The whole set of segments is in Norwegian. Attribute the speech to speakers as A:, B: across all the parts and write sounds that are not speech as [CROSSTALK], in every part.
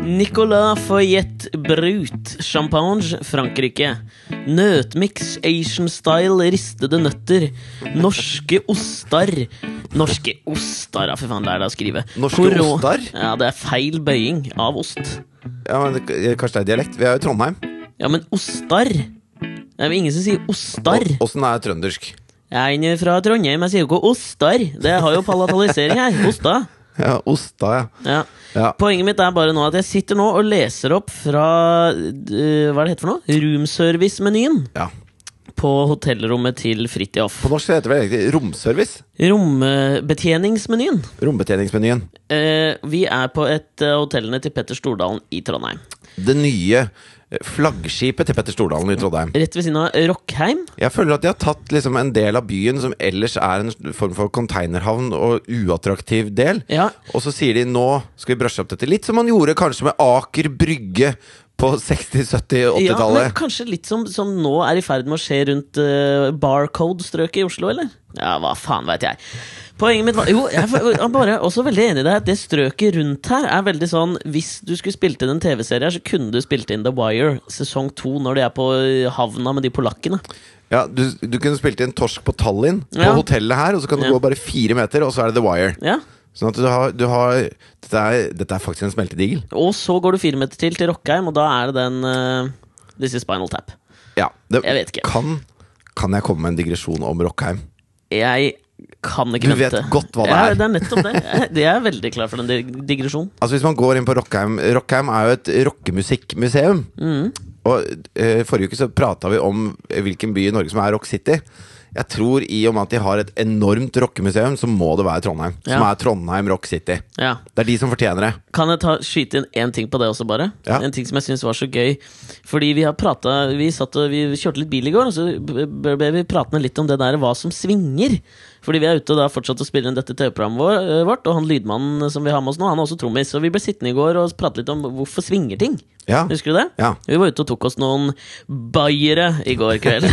A: Nicolas Foyette Brut, Champagne, Frankrike. Nøtmix, Asian style, ristede nøtter. Norske ostar. Norske ostar, ja, for faen, det er det å skrive.
B: Norske ostar?
A: Ja, det er feil bøying av ost.
B: Ja, men det,
A: Mm.
B: kanskje det er dialekt? Vi er jo i Trondheim.
A: Ja, men ostar Det er jo ingen som sier ostar.
B: Og- Åssen er trøndersk?
A: Jeg er inne fra Trondheim, jeg sier jo ikke ostar. Det har jo palatalisering her. Osta.
B: Ja, Osta, ja.
A: Ja.
B: Ja.
A: Poenget mitt er bare nå at jeg sitter nå og leser opp fra eh, Hva er det heter for noe? Roomservice-menyen
B: ja.
A: på hotellrommet til Fridtjof.
B: På norsk heter det vel egentlig romservice?
A: Rombetjeningsmenyen.
B: Rombetjeningsmenyen.
A: Eh, vi er på et av hotellene til Petter Stordalen i Trondheim.
B: Det nye eh, flaggskipet til Petter Stordalen i Trondheim.
A: Rett ved siden av Rockheim.
B: Jeg føler at de har tatt liksom en del av byen som ellers er en form for konteinerhavn og uattraktiv del,
A: Ja.
B: og så sier de nå skal vi brushe opp dette litt, som man gjorde kanskje med Aker Brygge på 60-, 70-,
A: Ja, men
B: 80-tallet.
A: kanskje litt som, som nå er i ferd med å skje rundt eh, Barcode-strøket i Oslo, eller? Ja, hva faen veit jeg. Poenget mitt var Jo, jeg er bare også veldig enig i deg at det strøket rundt her er veldig sånn Hvis du skulle spilt inn en TV-serie her, så kunne du spilt inn The Wire sesong to når de er på eh, havna med de polakkene.
B: Ja, du, du kunne spilt inn Torsk på Tallinn, på
A: Ja.
B: hotellet her, og så kan du
A: Ja.
B: gå bare fire meter, og så er det The Wire.
A: Ja.
B: Sånn at du har, du har dette, er, dette er faktisk en smeltedigel.
A: Og så går du fire meter til til Rockheim, og da er det den eh, This is Spinal Tap.
B: Ja, det,
A: Jeg vet ikke.
B: Kan, kan jeg komme med en digresjon om Rockheim?
A: Jeg kan ikke
B: Du
A: vente.
B: vet godt hva det
A: Ja,
B: er.
A: det er nettopp
B: [LAUGHS]
A: det. Jeg- Jeg er veldig klar for den dig- digresjonen.
B: Altså Hvis man går inn på Rockheim Rockheim er jo et rockemusikkmuseum.
A: Mm.
B: Og eh, Forrige uke så prata vi om eh, hvilken by i Norge som er Rock City. Jeg tror i og med at de har et enormt rockemuseum, så må det være Trondheim. Som
A: Ja.
B: er Trondheim Rock City.
A: Ja.
B: Det er de som fortjener det.
A: Kan jeg ta, skyte inn én ting på det også, bare?
B: Ja.
A: En ting som jeg syns var så gøy. Fordi vi har pratet, vi, satt og, vi kjørte litt bil i går, og så b- b- ble vi pratende litt om det der hva som svinger. Fordi vi er ute og da fortsatt å spille inn dette TV-programmet vår, eh, vårt, og han lydmannen som vi har med oss nå, han er også trommis. Og vi ble sittende i går og prate litt om hvorfor svinger ting.
B: Ja,
A: Husker du det?
B: Ja.
A: Vi var ute og tok oss noen bayere i går
B: [LAUGHS]
A: kveld.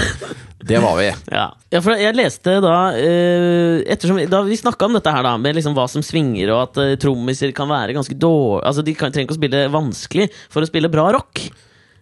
B: det var vi.
A: Ja. ja, for jeg leste da eh, Ettersom vi- da vi snakka om dette her, da, med liksom hva som svinger, og at eh, trommiser kan være ganske dårlige Altså, de kan, trenger ikke å spille vanskelig for å spille bra rock.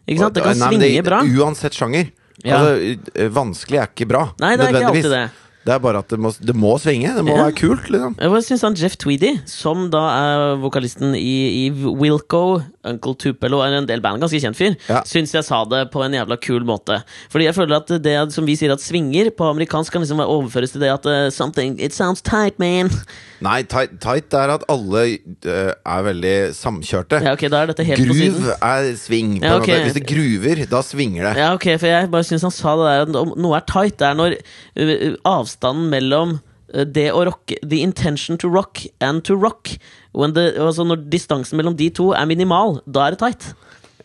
A: Ikke sant? Det kan
B: Nei, men
A: svinge bra.
B: Uansett sjanger.
A: Ja.
B: Altså, eh, vanskelig er ikke bra.
A: Nei, det er ikke
B: nødvendigvis.
A: alltid det.
B: Det er bare at det må, det må svinge. Det må
A: Ja.
B: være kult, liksom.
A: Hva syns han Jeff Tweedy, som da er vokalisten i, i Wilco, Uncle Tupelo er en del band, ganske kjent fyr,
B: Ja.
A: syns jeg sa det på en jævla kul måte. Fordi jeg føler at det som vi sier at svinger, på amerikansk kan liksom overføres til det at eh, something It sounds tight, man.
B: Nei, tight, tight er at alle eh, er veldig samkjørte.
A: Ja, ok, da er dette helt på siden.
B: Gruv er sving. På
A: Ja,
B: en
A: ok.
B: måte. Hvis det gruver, da svinger det.
A: Ja, ok, for jeg bare syns han sa det der at om noe er tight. Det er når ø, ø, avstanden mellom ø, det å rocke The intention to rock and to rock. When the, altså når distansen mellom de to er minimal, da er det tight.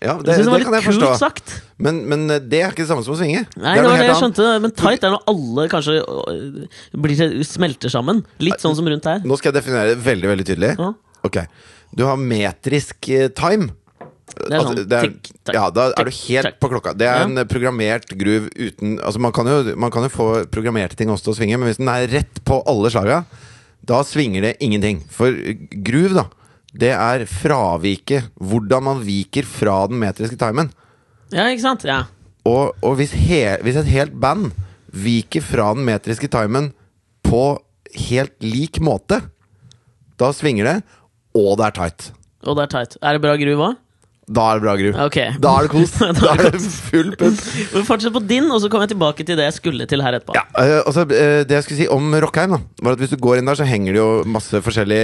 B: Ja,
A: Det,
B: det,
A: synes jeg
B: det
A: var
B: kan jeg
A: litt kult
B: forstå.
A: sagt.
B: Men, men eh, det er ikke det samme som å svinge.
A: Nei, det,
B: noe
A: var det
B: helt
A: jeg
B: annet.
A: skjønte. Men tight er når alle kanskje ø, blir, smelter sammen. Litt sånn som rundt her.
B: Nå skal jeg definere det veldig veldig tydelig.
A: Ja.
B: Ok, Du har metrisk eh, time.
A: Det er
B: Altså,
A: sånn
B: det er-
A: tikk, takk,
B: ja, da er du
A: tikk,
B: helt
A: takk.
B: på klokka. Det er
A: Ja.
B: en eh, programmert groove uten Altså man kan, jo, man kan jo få programmerte ting også til å svinge, men hvis den er rett på alle slaga, da svinger det ingenting. For eh, groove, da, det er fraviket. Hvordan man viker fra den metriske timen.
A: Ja, ikke sant? Ja.
B: Og, og hvis, he, hvis et helt band viker fra den metriske timen på helt lik måte, da svinger det, og det er tight.
A: Og det er tight. Er det bra groove
B: [LAUGHS]
A: òg?
B: Da er det bra, Gru.
A: Ok.
B: Da er det kos.
A: [LAUGHS] Da er det
B: Da er det full putt.
A: Men Fortsett på din, og så kommer jeg tilbake til det jeg skulle til her etterpå.
B: Ja, eh, altså, eh, det jeg skulle si om Rockheim, da, var at hvis du går inn der, så henger det jo masse forskjellig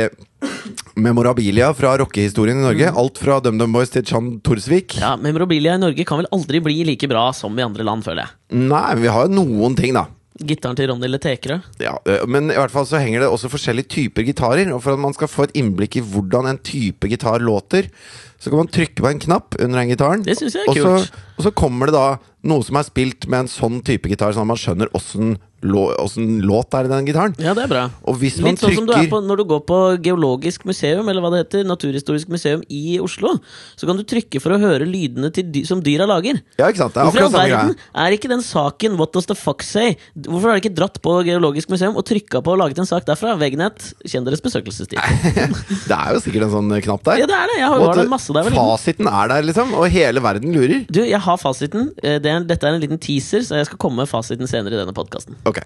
B: memorabilia fra rockehistorien i Norge. Alt fra DumDum Boys til Chan Torsvik.
A: Mm. Ja, Memorabilia i Norge kan vel aldri bli like bra som i andre land, føler jeg.
B: Nei, vi har jo noen ting, da.
A: Gitaren til Ronny Letekerø.
B: Ja, øh, men i hvert fall så henger det også forskjellige typer gitarer. Og for at man skal få et innblikk i hvordan en type gitar låter, så kan man trykke på en knapp under den gitaren.
A: Det synes jeg er
B: og
A: kult.
B: Så, og så kommer det da noe som er spilt med en sånn type gitar, sånn at man skjønner åssen lå- åssen låt er det i den gitaren.
A: Ja, det er bra.
B: Og hvis man
A: Litt sånn som du er
B: trykker-
A: på når du går på Geologisk museum, eller hva det heter, Naturhistorisk museum i Oslo, så kan du trykke for å høre lydene til dy som dyra lager.
B: Ja, ikke sant? Det er
A: Hvorfor i all
B: akkurat samme
A: verden
B: greia.
A: er ikke den saken What Does The Fuck Say? Hvorfor har de ikke dratt på Geologisk museum og trykka på og laget en sak derfra? Vegnett, kjenn deres
B: [LAUGHS]
A: besøkelsestid.
B: Det er jo sikkert en sånn eh, knapp der.
A: Ja, det er det. Jeg har,
B: Og
A: har
B: at,
A: det masse der. vel?
B: Fasiten er der, liksom, og hele verden lurer.
A: Du, jeg har fasiten. Eh, Det er, dette er en liten teaser, så jeg skal komme med fasiten senere i denne podkasten.
B: Ok,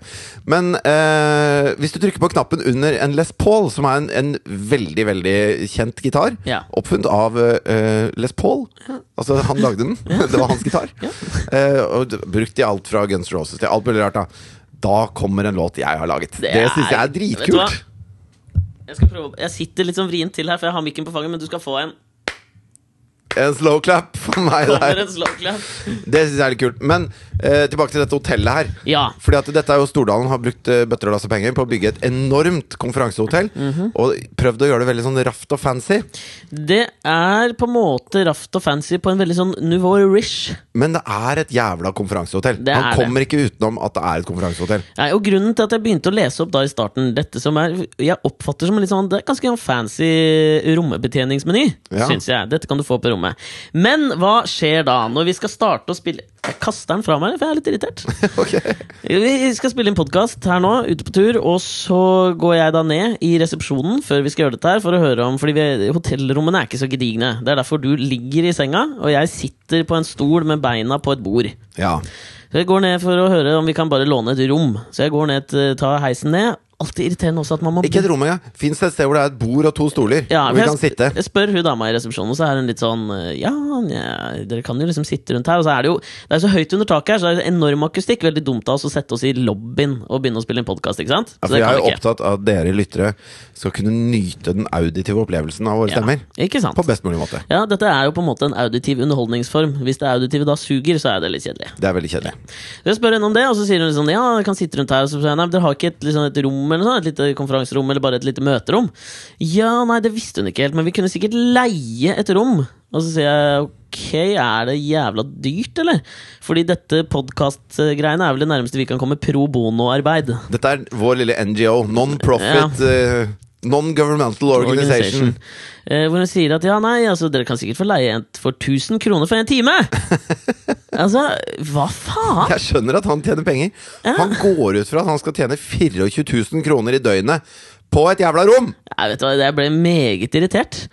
B: Men eh, hvis du trykker på knappen under en Les Paul, som er en, en veldig veldig kjent gitar,
A: Ja.
B: oppfunnet av eh, Les Paul Altså, han lagde den. [LAUGHS] det var hans gitar. Eh, og d- brukt i alt fra Guns N' Roses til alt mulig rart. Da Da kommer en låt jeg har laget. Det,
A: er-
B: syns jeg er
A: Vet du
B: dritkult.
A: hva? Jeg, skal prøve, jeg sitter litt sånn vrient til her, for jeg har mikken på fanget, men du skal få
B: [LAUGHS]
A: en.
B: En slow clap for meg
A: Kommer
B: der.
A: en slow clap.
B: Det syns jeg er litt kult. Men eh, tilbake til dette hotellet her.
A: Ja.
B: Fordi at dette er jo Stordalen har brukt eh, bøtter og lasse penger på å bygge et enormt konferansehotell.
A: Mhm.
B: Og prøvd å gjøre det veldig sånn raft og fancy.
A: Det er på en måte raft og fancy på en veldig sånn nouveau riche.
B: Men det er et jævla konferansehotell.
A: Det
B: Han
A: er det.
B: kommer ikke utenom at det er et konferansehotell. [LAUGHS]
A: Nei, og Grunnen til at jeg begynte å lese opp da i starten Dette som er, jeg oppfatter som en litt sånn Det er ganske en fancy rommebetjeningsmeny,
B: Ja.
A: syns jeg. Dette kan du få på rommet. Men hva skjer da, når vi skal starte å spille Jeg kaster den fra meg, for jeg er litt irritert.
B: [LAUGHS] Ok
A: Vi skal spille inn podkast her nå, ute på tur. Og så går jeg da ned i resepsjonen før vi skal gjøre dette her, for å høre om Fordi vi, hotellrommene er ikke så gedigne. Det er derfor du ligger i senga, og jeg sitter på en stol med beina på et bord.
B: Ja.
A: Så jeg går ned for å høre om vi kan bare låne et rom. Så jeg går ned, til- tar heisen ned. Alltid irriterende også at man må
B: Ikke et rom engang. Fins det et sted hvor det er et bord og to stoler?
A: ja,
B: hvor
A: for
B: vi
A: jeg,
B: kan sitte?
A: sp- jeg spør hun dama i resepsjonen, og så er hun litt sånn eh, Ja, nja, dere kan jo liksom sitte rundt her. Og så er det jo Det er så høyt under taket her, så det er enorm akustikk. Veldig dumt av oss å sette oss i lobbyen og begynne å spille inn podkast, ikke sant?
B: Ja,
A: Så
B: for
A: det
B: jeg
A: kan
B: er jo
A: vi ikke.
B: opptatt av at dere lyttere skal kunne nyte den auditive opplevelsen av våre stemmer.
A: Ja, ikke sant?
B: På best mulig måte.
A: Ja, dette er jo på en måte en auditiv underholdningsform. Hvis det auditive da suger, så er det litt kjedelig.
B: Det er veldig kjedelig.
A: Så Jeg spør henne om det, og så sier hun liksom Ja, jeg kan sitte rundt her. Og så sier jeg nei, men dere har ikke et, liksom, et rom eller noe sånt? Et lite konferanserom eller bare et lite møterom? Ja, nei, det visste hun ikke helt, men vi kunne sikkert leie et rom. Og så sier jeg ok, er det jævla dyrt, eller? Fordi dette podkast-greiene er vel det nærmeste vi kan komme pro bono-arbeid.
B: Dette er vår lille NGO. Non-profit. eh, Non-governmental organization.
A: Eh, hvor hun sier at ja, nei, altså, dere kan sikkert få leie en for 1000 kroner for en time! altså, hva faen?
B: Jeg skjønner at han tjener penger. Han går ut fra at han skal tjene 24 000 kroner i døgnet på et jævla rom!
A: Jeg vet hva, jeg ble meget irritert.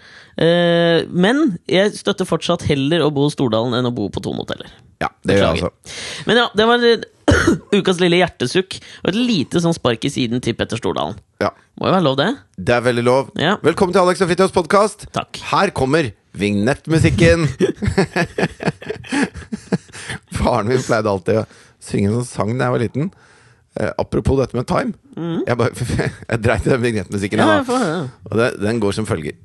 A: Eh, men jeg støtter fortsatt heller å bo i Stordalen enn å bo på Thon hoteller.
B: Ja, det gjør jeg altså.
A: Men ja, det var [COUGHS] ukas lille hjertesukk og et lite sånn spark i siden til Petter Stordalen.
B: Ja.
A: Må jo være lov, det.
B: Det er veldig lov.
A: Ja.
B: Velkommen til Alex og Fritjofs podkast.
A: Takk.
B: Her kommer vignettmusikken.
A: [LAUGHS]
B: Faren min pleide alltid å synge en sånn sang da jeg var liten. Eh, apropos dette med time. Jeg, bare, [LAUGHS] jeg dreit i den vignettmusikken.
A: Mm. Ja,
B: jeg,
A: jeg får høre.
B: da. Og det, den går som følger.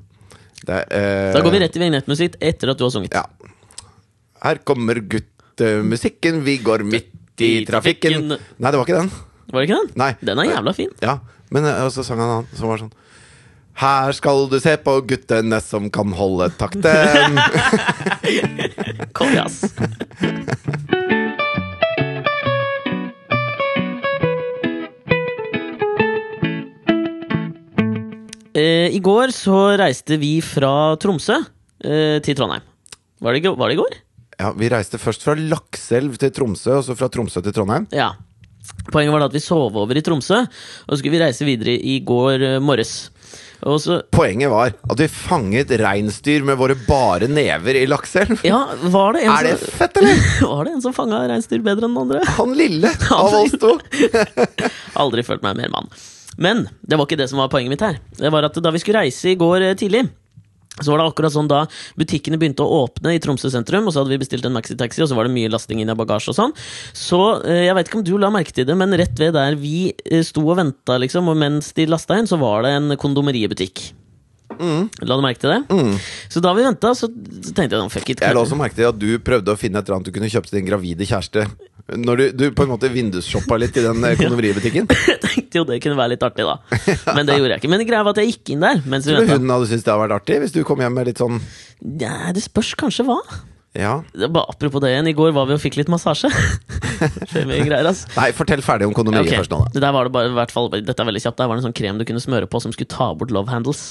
B: Det, er, eh,
A: Da går vi rett til vignettmusikk etter at du har sunget.
B: Ja. Her kommer guttemusikken, vi går midt i trafikken. Nei, det var ikke den.
A: Var det ikke den?
B: Nei.
A: Den er jævla fin.
B: Ja, men eh, så sang han en annen som var sånn Her skal du se på guttene som kan holde takten.
A: Kom, ass. [LAUGHS] Eh, I går så reiste vi fra Tromsø eh, til Trondheim. Var det, i går- var det i går?
B: ja, vi reiste først fra Lakselv til Tromsø, og så fra Tromsø til Trondheim.
A: Ja. Poenget var da at vi sov over i Tromsø, og så skulle vi reise videre i går eh, morges. Og så
B: Poenget var at vi fanget reinsdyr med våre bare never i Lakselv.
A: Ja, altså- var det en
B: Er det
A: som,
B: fett, eller?
A: var det en som [LAUGHS] fanga reinsdyr bedre enn den andre?
B: Han lille av oss to.
A: Aldri følt meg mer mann. Men det var ikke det som var poenget mitt her. Det var at Da vi skulle reise i går eh, tidlig, så var det akkurat sånn da butikkene begynte å åpne i Tromsø sentrum, og så hadde vi bestilt en maxitaxi, og så var det mye lasting inn av bagasje og sånn. Så eh, jeg vet ikke om du la merke til det, men rett ved der vi eh, sto og venta, liksom, og mens de lasta inn, så var det en kondomeributikk.
B: Mm.
A: La du merke til det? Så da vi venta, så så tenkte jeg sånn, fuck it.
B: Jeg la også merke til at du prøvde å finne et eller annet du kunne kjøpe til din gravide kjæreste. Når du, du på en måte vindusshoppa litt i den eh, kondomeributikken.
A: [LAUGHS] Jeg tenkte jo det kunne være litt
B: [LAUGHS]
A: artig, da. Men det gjorde jeg ikke. Men greia var at jeg gikk inn der mens vi
B: Tror du
A: venta.
B: hun hadde syntes det hadde vært artig hvis du kom hjem med litt sånn
A: Nei, det spørs kanskje hva.
B: Ja.
A: Det er Bare apropos det igjen, i går var vi og fikk litt
B: [LAUGHS]
A: massasje. Skjer mye greier, ass.
B: Nei, fortell ferdig om kondomeriet
A: Altså. Ok,
B: først nå, da.
A: Det der var det bare, i hvert fall, dette er veldig kjapt. Der var det en sånn krem du kunne smøre på som skulle ta bort love handles.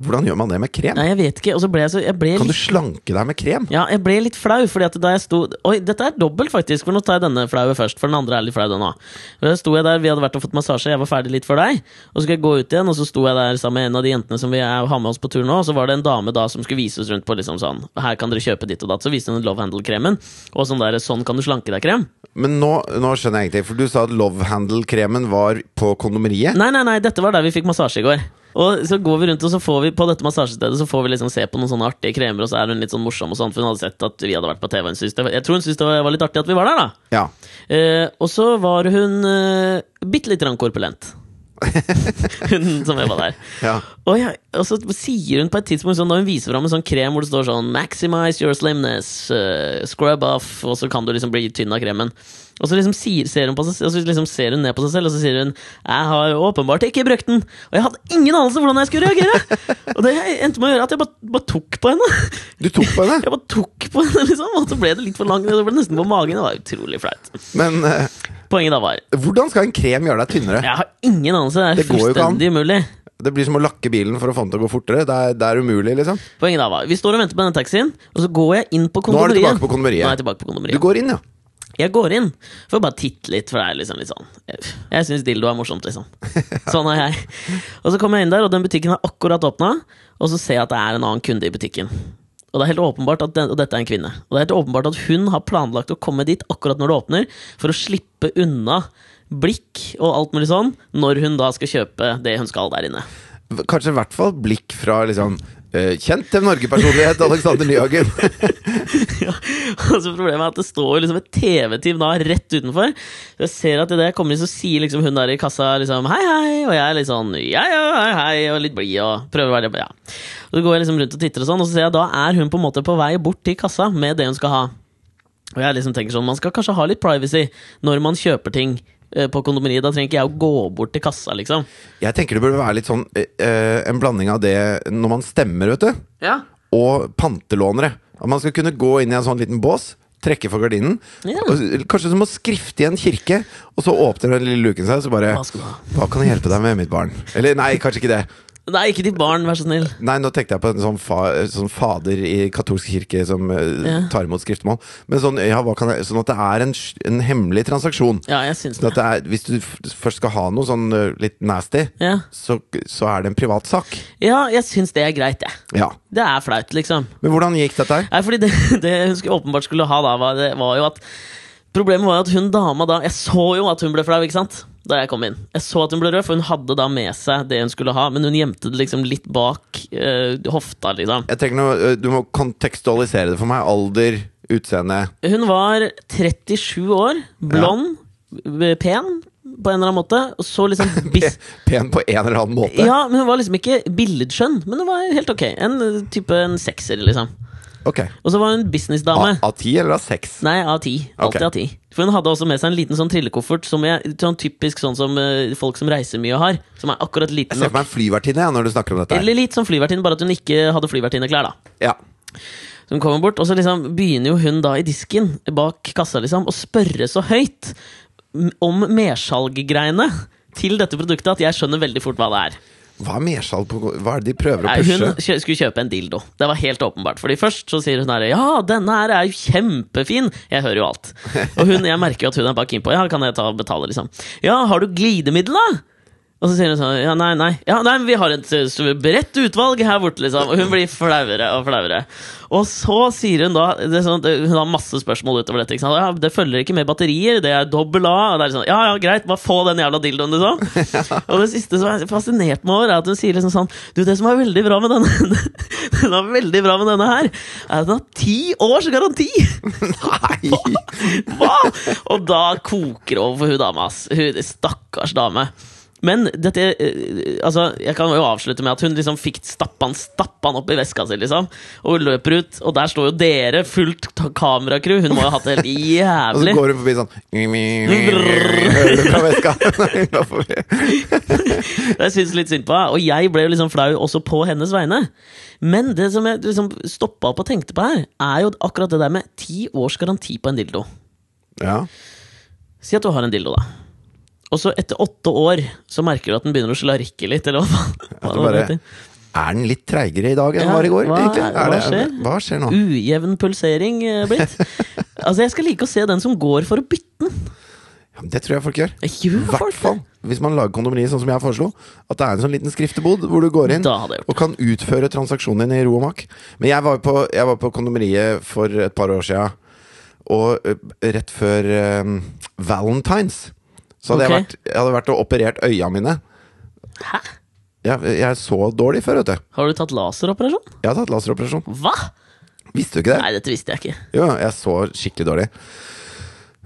B: Hvordan gjør man det med krem?
A: Nei, jeg vet ikke. Og så ble jeg så jeg ble
B: Kan du
A: litt,
B: slanke deg med krem?
A: ja, jeg ble litt flau, fordi at da jeg sto Oi, dette er dobbelt, faktisk. For nå tar jeg denne flaue først, for den andre er litt flau, den òg. Da sto jeg der, vi hadde vært og fått massasje, jeg var ferdig litt før deg. Og så skulle jeg gå ut igjen, og så sto jeg der sammen med en av de jentene som vi er- har med oss på tur nå, og så var det en dame da som skulle vise oss rundt på liksom sånn Her kan dere kjøpe ditt og datt. Så viste hun love handle-kremen, og sånn der Sånn kan du slanke deg-krem.
B: Men nå, nå skjønner jeg egentlig, for du sa at Love Handle-kremen var på kondomeriet.
A: Nei, nei, nei, dette var der vi fikk massasje i går. Og så går vi rundt, og så får vi på dette massasjestedet Så får vi liksom se på noen sånne artige kremer, og så er hun litt sånn morsom, og sånn for hun hadde sett at vi hadde vært på TV. Hun syntes det var, jeg tror hun syntes det var- var litt artig at vi var der, da.
B: Ja.
A: Eh, og så var hun eh, bitte litt grann korpulent. hun som jobba der.
B: ja.
A: Og, jeg, og så sier hun på et tidspunkt sånn, når hun viser fram en sånn krem hvor det står sånn 'Maximize your slimness', eh, 'Scrub off', og så kan du liksom bli tynn av kremen. Og så liksom sier, ser hun på seg, og så liksom ser hun ned på seg selv og så sier hun 'Jeg har åpenbart ikke brukt den', og jeg hadde ingen anelse hvordan jeg skulle reagere! og det endte med å gjøre at jeg bare, bare tok på henne.
B: Du tok
A: [LAUGHS]
B: på henne,
A: Jeg bare tok på henne, liksom, og så ble det litt for langt, og så ble det nesten på magen. Det var utrolig flaut.
B: men eh,
A: Poenget da var
B: hvordan skal en krem gjøre deg tynnere?
A: jeg har ingen anelse, det er
B: Det går jo ikke an.
A: fullstendig umulig.
B: Det blir som å lakke bilen for å få den til å gå fortere. Det er, det er umulig, liksom.
A: Poenget da var, Vi står og venter på denne taxien, og så går jeg inn på
B: Nå er du
A: kondomeriet.
B: tilbake på kondomeriet.
A: Nå er jeg tilbake på
B: Du
A: kondomeriet.
B: går inn, ja.
A: Jeg går inn for å bare titte litt, for det er liksom litt sånn Jeg, jeg syns dildo er morsomt,
B: [LAUGHS]
A: liksom. Sånn er jeg. Og så kommer jeg inn der, og den butikken har akkurat åpna, og så ser jeg at det er en annen kunde i butikken. Og det er helt åpenbart at den, og dette er en kvinne. Og det er helt åpenbart at hun har planlagt å komme dit akkurat når det åpner, for å slippe unna blikk og alt mulig sånn, når hun da skal kjøpe det hun skal der inne.
B: V- Kanskje i hvert fall blikk fra liksom eh, Kjent til
A: [LAUGHS]
B: Norge-personlighet, Alexander Nyhagen.
A: Ja, og så Problemet er at det står jo liksom et TV-team da rett utenfor. Så Jeg ser at idet jeg kommer inn, så sier liksom hun der i kassa liksom hei, hei, og jeg er litt sånn ja, ja, hei, hei, og litt blid og prøver å være ja. Og Så går jeg liksom rundt og titter, og sånn, og så ser jeg at da er hun på en måte på vei bort til kassa med det hun skal ha. Og jeg liksom tenker sånn, Man skal kanskje ha litt privacy når man kjøper ting eh, på kondomeriet. Da trenger ikke jeg å gå bort til kassa, liksom.
B: Jeg tenker det burde være litt sånn eh, eh, en blanding av det når man stemmer, vet du,
A: Ja.
B: og pantelånere. At man skal kunne gå inn i en sånn liten bås, trekke for gardinen.
A: Ja.
B: Og, s- kanskje som å skrifte i en kirke, og så åpner den lille luken seg, og så bare
A: Hva skal du ha?
B: Hva kan jeg hjelpe deg med, mitt barn? Eller nei, kanskje ikke det.
A: Nei, ikke til barn, vær så snill.
B: Nei, nå tenkte jeg på en sånn, fa, sånn fader i katolsk kirke som eh,
A: Ja.
B: tar imot skriftemål. Men sånn, ja, hva kan jeg, sånn at det er en, sj- en hemmelig transaksjon.
A: Ja, jeg syns
B: Sånn
A: det.
B: at det er, hvis du f- først skal ha noe sånn eh, litt nasty,
A: Ja,
B: så, så er det en privat sak.
A: ja jeg syns det er greit, jeg.
B: Ja.
A: Det er flaut, liksom.
B: Men hvordan gikk dette her?
A: Nei, fordi det, [LAUGHS] det hun skulle åpenbart skulle ha da, var, det, var jo at Problemet var jo at hun dama da Jeg så jo at hun ble flau, ikke sant? Da jeg kom inn. Jeg så at hun ble rød, for hun hadde da med seg det hun skulle ha, men hun gjemte det liksom litt bak eh, hofta, liksom.
B: Jeg trenger noe, eh, Du må kontekstualisere det for meg. Alder, utseende
A: Hun var 37 år, blond, b- pen på en eller annen måte, og så liksom
B: [LAUGHS]
A: bis
B: Pen på en eller annen måte.
A: Ja, men hun var liksom ikke billedskjønn, men hun var helt ok. En eh, type en sekser, liksom.
B: Ok.
A: Og så var hun businessdame.
B: A- Av ti eller av seks?
A: Nei, av ti. Alltid
B: Ok.
A: av ti. For hun hadde også med seg en liten sånn trillekoffert, som jeg, sånn typisk sånn som eh, folk som reiser mye har. Som er akkurat
B: Jeg
A: liten
B: ser for
A: nok.
B: meg en flyvertinne ja, når du snakker om dette. her
A: Eller litt som flyvertinne, bare at hun ikke hadde flyvertinneklær, da.
B: Ja.
A: Så hun kommer bort, og så liksom begynner jo hun da i disken bak kassa liksom å spørre så høyt m- om mersalggreiene til dette produktet at jeg skjønner veldig fort hva det er.
B: Hva er mersalg på Hva er det de prøver å
A: Nei,
B: pushe?
A: hun kjø skulle kjøpe en dildo. Det var helt åpenbart. Fordi først så sier hun her Ja, denne her er jo kjempefin! Jeg hører jo alt. Og hun, jeg merker jo at hun er bare keen på Ja, kan jeg ta og betale, liksom? Ja, har du glidemiddel, da? Og så sier hun sånn Ja, nei, nei. Ja, nei, men vi har et eh, så bredt utvalg her borte, liksom. Og hun blir flauere og flauere. Og så sier hun da det er sånn, at Hun har masse spørsmål utover dette. Ikke sant? Ja, det følger ikke med batterier, det er dobbel A. Og det er sånn, ja, ja, greit, bare få den jævla dildoen, liksom. Og det siste som er fascinert meg over, er at hun sier liksom sånn Du, det som er veldig bra med denne [LAUGHS] Den er veldig bra med denne her, er at den har ti års garanti! [LAUGHS]
B: Nei!
A: Hva?! Og da koker det over for hun dama, ass. Hun stakkars dame. Men dette eh, Altså, jeg kan jo avslutte med at hun liksom fikk stappa han, stappa han opp i veska si, liksom. Og løper ut, og der står jo dere, fullt ta- kameracrew. Hun må jo ha hatt
B: [LAUGHS]
A: det helt
B: Og så
A: jævlig.
B: går hun forbi sånn Hører du fra veska? Nei, da får vi-
A: Og Jeg synes litt synd på henne, og jeg ble jo liksom flau også på hennes vegne. Men det som jeg liksom stoppa opp og tenkte på her, er jo akkurat det der med ti års garanti på en dildo.
B: Ja.
A: Si at du har en dildo, da. Og så etter åtte år så merker du at den begynner å slarke litt, eller hva faen?
B: At
A: hva
B: du
A: det
B: bare
A: heter.
B: Er den litt treigere i dag enn
A: Ja,
B: den var i går?
A: hva-
B: egentlig? Er
A: hva
B: det,
A: skjer?
B: hva skjer nå?
A: Ujevn pulsering eh,
B: [LAUGHS]
A: blitt. altså, jeg skal like å se den som går for å bytte den.
B: Ja, men det tror jeg folk gjør.
A: Gjør
B: I hvert
A: folk
B: fall hvis man lager kondomeri sånn som jeg foreslo. At det er en sånn liten skriftebod hvor du går inn
A: Da hadde jeg gjort
B: og kan utføre transaksjonen din i ro og mak. Men jeg var jo på, jeg var på kondomeriet for et par år sia, og ø, rett før ø, Valentines så hadde jeg,
A: Ok.
B: vært, jeg hadde vært og operert øya mine.
A: Hæ?
B: Jeg, jeg så dårlig før, vet du.
A: Har du tatt laseroperasjon?
B: Jeg hadde tatt laseroperasjon.
A: Hva?!
B: Visste du ikke det?
A: Nei, dette visste jeg ikke.
B: Jo, jeg så skikkelig dårlig.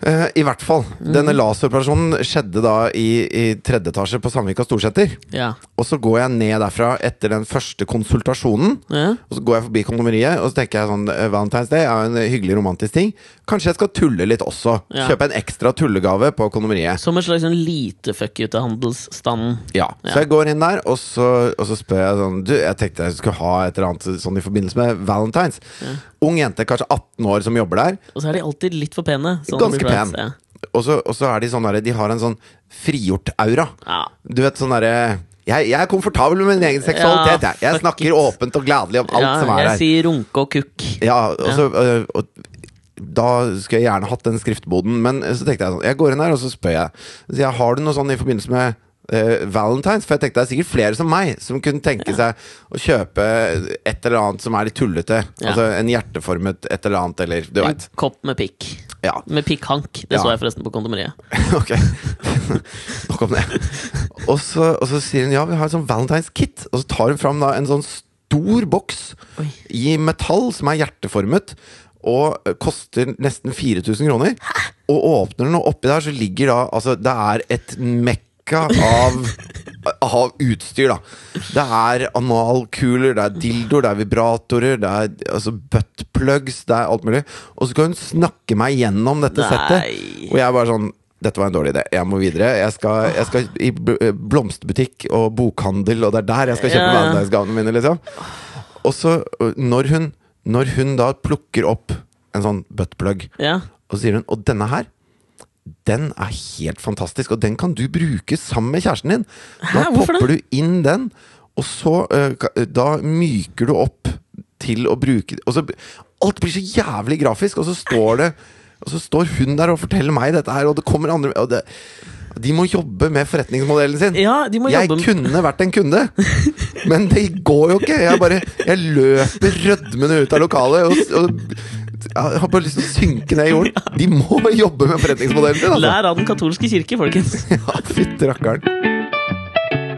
B: Eh, I hvert fall.
A: Mhm.
B: Denne laseroperasjonen skjedde da i, i tredje etasje på Sandvika Storsenter.
A: Ja.
B: Og så går jeg ned derfra etter den første konsultasjonen.
A: ja.
B: Og så går jeg forbi kondomeriet, og så tenker jeg sånn eh, Valentine's Day er jo en hyggelig, romantisk ting. Kanskje jeg skal tulle litt også.
A: Ja.
B: Kjøpe en ekstra tullegave på kondomeriet.
A: Som en slags sånn lite fuck you til handelsstanden.
B: Ja. Så jeg går inn der, og så, og så spør jeg sånn Du, jeg tenkte jeg skulle ha et eller annet sånn i forbindelse med Valentine's. Ung jente, kanskje 18 år, som jobber der.
A: Og så er de alltid litt for pene. sånn
B: Ganske
A: surprise,
B: pen. Og så, og så er de sånn derre De har en sånn frigjort aura.
A: Ja.
B: Du vet sånn derre jeg, jeg er komfortabel med min egen seksualitet. jeg. Jeg
A: fuck
B: snakker
A: it.
B: åpent og gladelig om
A: Ja.
B: alt som er
A: jeg
B: her.
A: sier runke og kukk.
B: Ja, og så, øh, og, da skulle jeg gjerne hatt den skriftboden, men så tenkte jeg sånn Jeg går inn her, og så spør jeg. Så jeg har du noe sånn i forbindelse med øh, Valentines? For jeg tenkte det er sikkert flere som meg som kunne tenke seg å kjøpe et eller annet som er litt tullete.
A: Ja.
B: Altså en hjerteformet et eller annet, eller du
A: En
B: veit.
A: kopp med pikk.
B: Ja,
A: Med pikkhank. Det
B: Ja.
A: så jeg forresten på kondomeriet.
B: [LAUGHS] ok. Nok om det. Og så, og så sier hun ja, vi har en sånn Valentines kit, og så tar hun fram da en sånn stor boks.
A: Oi.
B: i metall som er hjerteformet og eh, koster nesten 4000 kroner. Og åpner den, og oppi der så ligger da Altså, det er et mekka
A: [LAUGHS]
B: av Av utstyr, da. Det er analkuler, det er dildoer, det er vibratorer, det er altså, buttplugs, det er alt mulig. Og så skal hun snakke meg gjennom dette
A: Nei.
B: settet. Og jeg er bare sånn dette var en dårlig idé. Jeg må videre. Jeg skal, jeg skal i bl- eh, blomsterbutikk og bokhandel, og det er der jeg skal
A: Ja,
B: kjøpe
A: ja.
B: valentinsgavene mine. liksom og så, ø, når hun, når hun da plukker opp en sånn buttplug,
A: Ja.
B: og så sier hun Og denne her, den er helt fantastisk, og den kan du bruke sammen med kjæresten din. Da
A: Hæ, hvorfor
B: popper du inn den, og så ø, ka- ø, Da myker du opp til å bruke Og så b- Alt blir så jævlig grafisk, og så står det Og så står hun der og forteller meg dette her, og det kommer andre og det, De må jobbe med forretningsmodellen sin
A: ja, de må
B: jeg
A: jobbe med
B: kunne vært en kunde, men det går jo ikke. Jeg bare Jeg løper rødmende ut av lokalet og, og jeg har bare lyst til å synke ned i jorden. De må jobbe med forretningsmodellen sin, altså!
A: Lær av den katolske kirke, folkens.
B: Ja, Fytti rakkeren.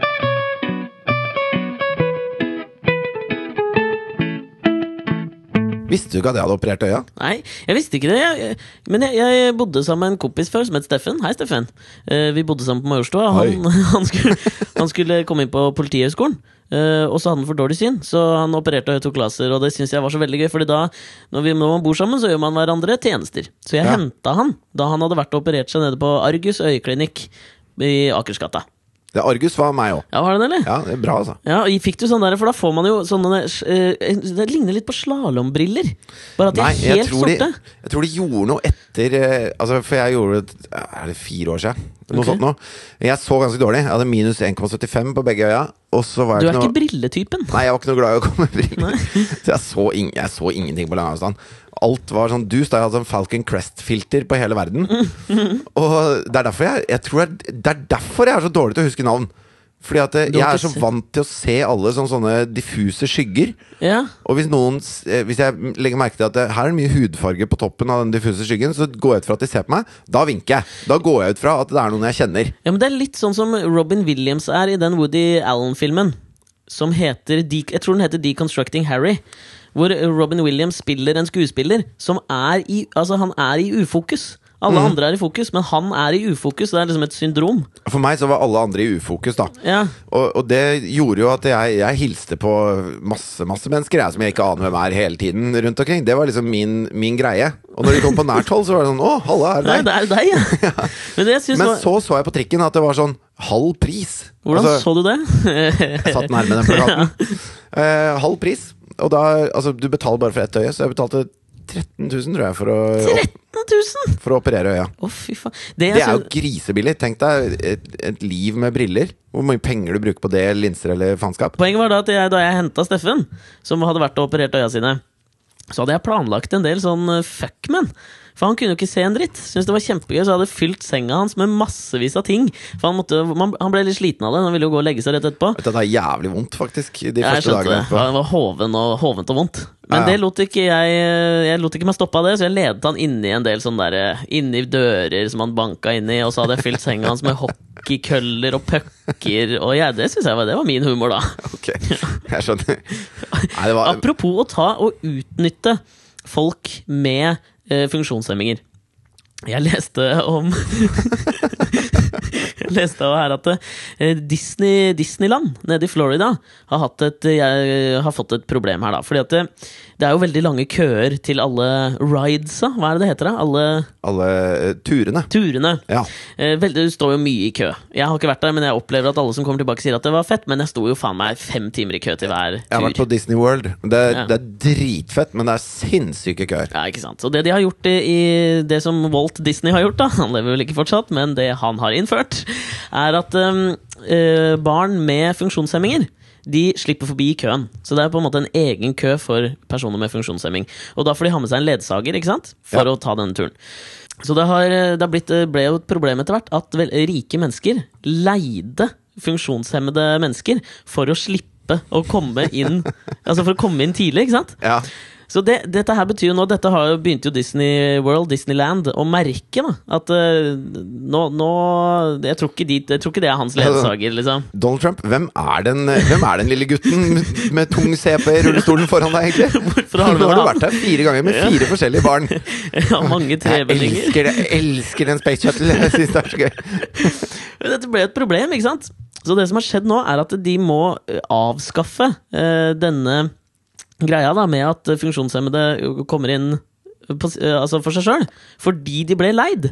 B: Visste du ikke at jeg hadde operert øya?
A: Nei, jeg visste ikke det. Jeg, men jeg, jeg bodde sammen med en kompis før som het Steffen. Hei, Steffen. Eh, vi bodde sammen på Majorstua. Han, han, [LAUGHS] skulle, han skulle komme inn på Politihøgskolen. eh, og så hadde han for dårlig syn, så han opererte og tok laser. Og det syns jeg var så veldig gøy, Fordi da når, vi, når man bor sammen, så gjør man hverandre tjenester. Så jeg
B: Ja.
A: hentet henta han da han hadde vært og operert seg nede på Argus øyeklinikk i Akersgata.
B: Det Argus var meg òg.
A: Ja, var det den, eller?
B: Ja, det er bra, altså.
A: Ja, og fikk du sånn der, for da får man jo sånne eh, Det ligner litt på slalåmbriller. Bare at de
B: Nei,
A: er
B: jeg
A: helt
B: tror, de,
A: sorte.
B: jeg tror de gjorde noe etter eh, altså For jeg gjorde det Er det fire år siden? Noe
A: Ok.
B: sånt nå. Jeg så ganske dårlig. Jeg hadde minus 1,75 på begge øya. Og så var
A: Du
B: jeg
A: er
B: noe
A: ikke brilletypen.
B: Nei, jeg var ikke noe glad i å komme med briller. [LAUGHS] Så jeg så, ing, jeg så ingenting på langavstand. Alt var sånn dust. Jeg hadde sånn Falcon Crest-filter på hele verden.
A: [LAUGHS]
B: Og det er derfor jeg, jeg, tror jeg, det er derfor jeg er så dårlig til å huske navn. Fordi at eh,
A: Du
B: jeg
A: har
B: er
A: ikke
B: så
A: sett-
B: vant til å se alle som sånne diffuse skygger.
A: Ja,
B: Og hvis, noen, s- eh, hvis jeg legger merke til at det, her er det mye hudfarge på toppen av den diffuse skyggen, så går jeg ut fra at de ser på meg. Da vinker jeg. Da går jeg ut fra at det er noen jeg kjenner.
A: Ja, men Det er litt sånn som Robin Williams er i den Woody Allen-filmen. Som heter De- Jeg tror den heter Deconstructing Harry. Hvor Robin Williams spiller en skuespiller som er i Altså, han er i ufokus. Alle andre er i fokus, men han er i ufokus. Det er liksom et syndrom.
B: For meg så var alle andre i ufokus, da.
A: Ja.
B: Og, og det gjorde jo at jeg, jeg hilste på masse masse mennesker jeg, som jeg ikke aner hvem er hele tiden rundt omkring. Det var liksom min, min greie. Og når de kom på nært hold, så var det sånn Å, halla, er
A: Nei,
B: det deg?
A: det er jo deg, ja. Men det jeg synes
B: Men
A: var,
B: så så jeg på trikken at det var sånn halv pris.
A: Hvordan
B: Altså,
A: så du det? [LAUGHS]
B: jeg satt nærme den plakaten. Eh, halv pris. Og da Altså, du betaler bare for ett øye, så jeg betalte 13 000, tror jeg, for å,
A: 13 000!
B: for å operere øya.
A: Å, fy faen. Det,
B: Det
A: jeg
B: er jo
A: synes-
B: grisebillig. Tenk deg et, et liv med briller. Hvor mye penger du bruker på det, linser eller faenskap.
A: Poenget var da at jeg, da jeg henta Steffen, som hadde vært og operert øya sine, så hadde jeg planlagt en del sånn eh, fuckmen. For han kunne jo ikke se en dritt. Syntes det var kjempegøy, Så jeg hadde fylt senga hans med massevis av ting. For han, måtte, man, han ble litt sliten av det. Han ville jo gå og legge seg rett etterpå.
B: Vet du, det er jævlig vondt, faktisk, de
A: Ja, jeg
B: første
A: skjønte
B: dagene
A: det.
B: etterpå.
A: Det var hoven og, hovent og vondt. Men
B: Ja, ja.
A: det lot ikke jeg Jeg lot ikke meg stoppe av det, så jeg ledet han inni en del sånne der, inni dører som han banka inni, og så hadde jeg fylt senga hans med [LAUGHS] hockeykøller og pucker, og jeg, det synes jeg var, det var min humor, da.
B: [LAUGHS] Ok, jeg skjønner. Nei, det var
A: Apropos å ta og utnytte folk med eh, funksjonshemminger. Jeg leste om [LAUGHS] Jeg leste om her at eh, Disney, Disneyland nede i Florida har, hatt et, jeg, har fått et problem her, da. Fordi at det, det er jo veldig lange køer til alle ridesa, hva er det det heter? da? Alle
B: alle eh, turene.
A: turene.
B: Ja.
A: Eh, Veldig, du står jo mye i kø. Jeg har ikke vært der, men jeg opplever at alle som kommer tilbake, sier at det var fett, men jeg sto jo faen meg fem timer i kø til hver
B: Jeg har
A: tur.
B: vært på Disney World. Det,
A: Ja.
B: det er dritfett, men det er sinnssyke køer.
A: Ja, ikke sant. Så det de har gjort i, i det som Walt Disney har gjort, da, [LAUGHS] han lever vel ikke fortsatt, men det han har innført, er at um, eh, barn med funksjonshemminger de slipper forbi i køen. Så det er på en måte en egen kø for personer med funksjonshemming. Og da får de ha med seg en ledsager ikke sant? for
B: Ja.
A: å ta denne turen. Så det, har, eh, det har blitt, ble jo et problem etter hvert at vel, rike mennesker leide funksjonshemmede mennesker for å slippe å komme inn [LAUGHS] Altså for å komme inn tidlig, ikke sant?
B: Ja.
A: Så det, dette her betyr jo nå Dette har jo begynte jo Disney World, Disneyland, å merke da at eh, nå, nå jeg, tror ikke de, jeg tror ikke det er hans ledsager, liksom. [LAUGHS]
B: Donald Trump, hvem er den, hvem er den lille gutten med- med tung CP i rullestolen foran deg, egentlig?
A: Hvorfor har du
B: Nå
A: med
B: har du
A: han?
B: vært her fire ganger med fire forskjellige
A: [LAUGHS]
B: barn.
A: Jeg har mange
B: Jeg
A: trebellinger.
B: elsker, det, jeg elsker den Space Shuttle. Jeg synes det er så gøy.
A: Men Dette ble et problem, ikke sant? Så det som har skjedd nå, er at de må eh, avskaffe eh, denne greia da, med at funksjonshemmede eh, kommer inn på, s- eh, altså for seg sjøl, fordi de ble leid.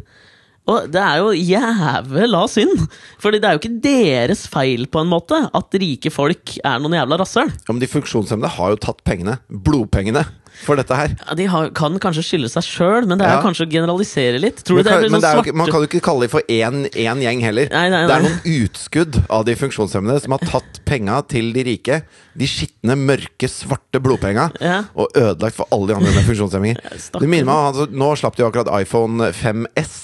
A: Og det er jo jævla synd! Fordi det er jo ikke deres feil, på en måte, at rike folk er noen jævla rasshøl.
B: Ja, men de funksjonshemmede har jo tatt pengene, blodpengene, for dette her.
A: Ja, De har, kan kanskje skylde seg sjøl, men det er
B: Ja.
A: jo kanskje å generalisere litt. Tror du
B: Men,
A: det er
B: kan, men
A: sånn
B: det er jo, ikke-
A: svarte
B: man kan jo ikke kalle dem for én én gjeng heller.
A: Nei, nei,
B: Det er
A: nei.
B: noen utskudd av de funksjonshemmede som har tatt penga til de rike. De skitne, mørke, svarte blodpenga.
A: Ja.
B: Og ødelagt for alle de andre med
A: [LAUGHS]
B: funksjonshemminger.
A: stakkars.
B: Det minner meg om altså, Nå slapp de jo akkurat iPhone 5S,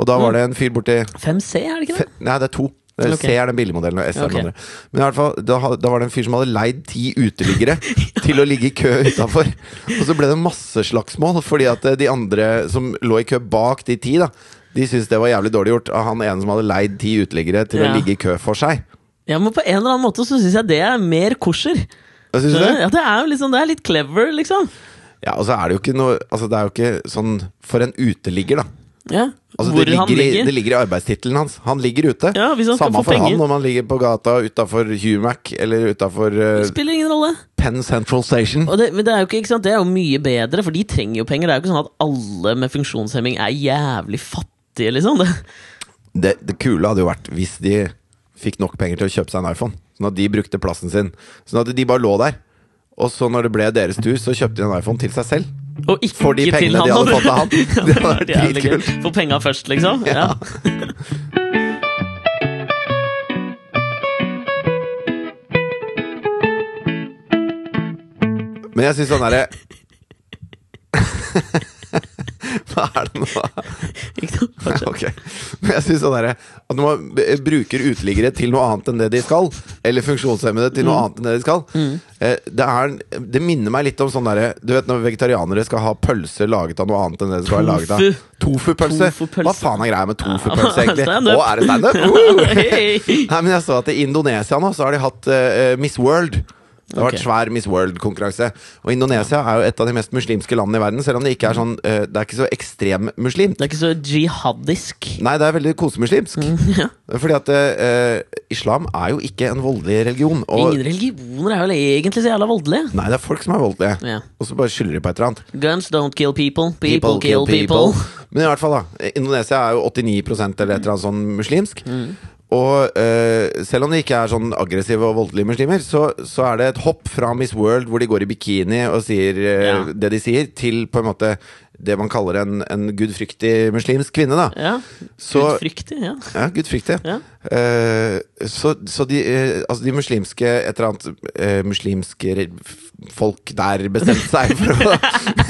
B: og da var det en fyr borti
A: 5C, er det ikke det?
B: Fe- Nei, det er to. Det er
A: Ok.
B: C er den billigmodellen, og S er
A: Ok.
B: den andre. Men i hvert fall, da, ha- da var det en fyr som hadde leid ti uteliggere
A: [LAUGHS]
B: til å ligge i kø utafor. Og så ble det masseslagsmål, fordi at eh, de andre som lå i kø bak de ti, da, de syntes det var jævlig dårlig gjort av han ene som hadde leid ti uteliggere til å
A: Ja.
B: ligge i kø for seg.
A: Ja, men på en eller annen måte så syns jeg det er mer kosher.
B: Hva synes du det?
A: Ja, det er jo liksom, det er litt clever, liksom.
B: Ja, og så er det jo ikke noe Altså, det er jo ikke sånn For en uteligger, da.
A: Ja,
B: Altså,
A: Hvor
B: det, ligger
A: han
B: I,
A: ligger.
B: det ligger i arbeidstittelen hans. Han ligger ute.
A: Ja, hvis han skal
B: Samme
A: få
B: for han
A: penger.
B: om han ligger på gata utafor Humac eller utafor eh,
A: Det spiller ingen rolle.
B: Penn Central Station.
A: Og det, men det er jo ikke, ikke sant? Det er jo mye bedre, for de trenger jo penger. Det er jo ikke sånn at alle med funksjonshemming er jævlig fattige, liksom. Det.
B: det, det kule hadde jo vært hvis de fikk nok penger til å kjøpe seg en iPhone. Sånn at de brukte plassen sin. Sånn at de bare lå der. Og så når det ble deres tur, så kjøpte de en iPhone til seg selv.
A: Og ikke
B: For de
A: til
B: pengene de
A: han,
B: hadde fått av
A: [LAUGHS] Ja,
B: han. Det
A: det
B: hadde
A: hadde
B: vært
A: vært jævlig gøy.
B: dritkult.
A: Få penga først, liksom. Ja.
B: Ja. Men jeg syns sånn derre [LAUGHS] Hva er det nå?
A: Ikke sant? Fortsett.
B: [LAUGHS] Ok. Men jeg synes sånn derre At når man b- bruker uteliggere til noe annet enn det de skal, eller funksjonshemmede til noe
A: Mm.
B: annet enn det de skal, eh, det, er, det minner meg litt om sånn derre Du vet når vegetarianere skal ha pølse laget av noe annet enn det de skal ha laget av?
A: Tofu.
B: Tofupølse.
A: Tofupølse.
B: Hva faen er greia
A: [LAUGHS]
B: med tofupølse, egentlig?
A: Stand-up.
B: Å, er det
A: [LAUGHS]
B: Uh. standup? Woo!
A: Hei.
B: Nei, men jeg så at i Indonesia nå, så har de hatt eh, eh, Miss World. Det har
A: Ok.
B: vært svær Miss World-konkurranse. Og Indonesia er jo et av de mest muslimske landene i verden, selv om det ikke er sånn eh, Det er ikke så ekstrem muslim.
A: Det er ikke så jihadisk.
B: Nei, det er veldig kosemuslimsk.
A: Mm, [LAUGHS] ja.
B: Fordi at eh, islam er jo ikke en voldelig religion. Og
A: Ingen religioner er vel egentlig så jævla voldelige.
B: nei, det er folk som er voldelige.
A: Ja.
B: Og så bare skylder de på et eller annet.
A: Guns don't kill people. People, kill people.
B: [LAUGHS] Men i hvert fall, da. Indonesia er jo 89 eller et eller annet sånn muslimsk.
A: Mm.
B: Og eh, selv om de ikke er sånn aggressive og voldelige muslimer, så, så er det et hopp fra Miss World, hvor de går i bikini og sier eh,
A: Ja.
B: det de sier, til på en måte det man kaller en, en gudfryktig muslimsk kvinne, da.
A: Ja.
B: Så-
A: Gudfryktig, ja.
B: Ja, gudfryktig.
A: Ja.
B: Eh, så så de, eh, altså de muslimske Et eller annet eh, muslimske re- f- folk der bestemte seg for å,
A: [LAUGHS]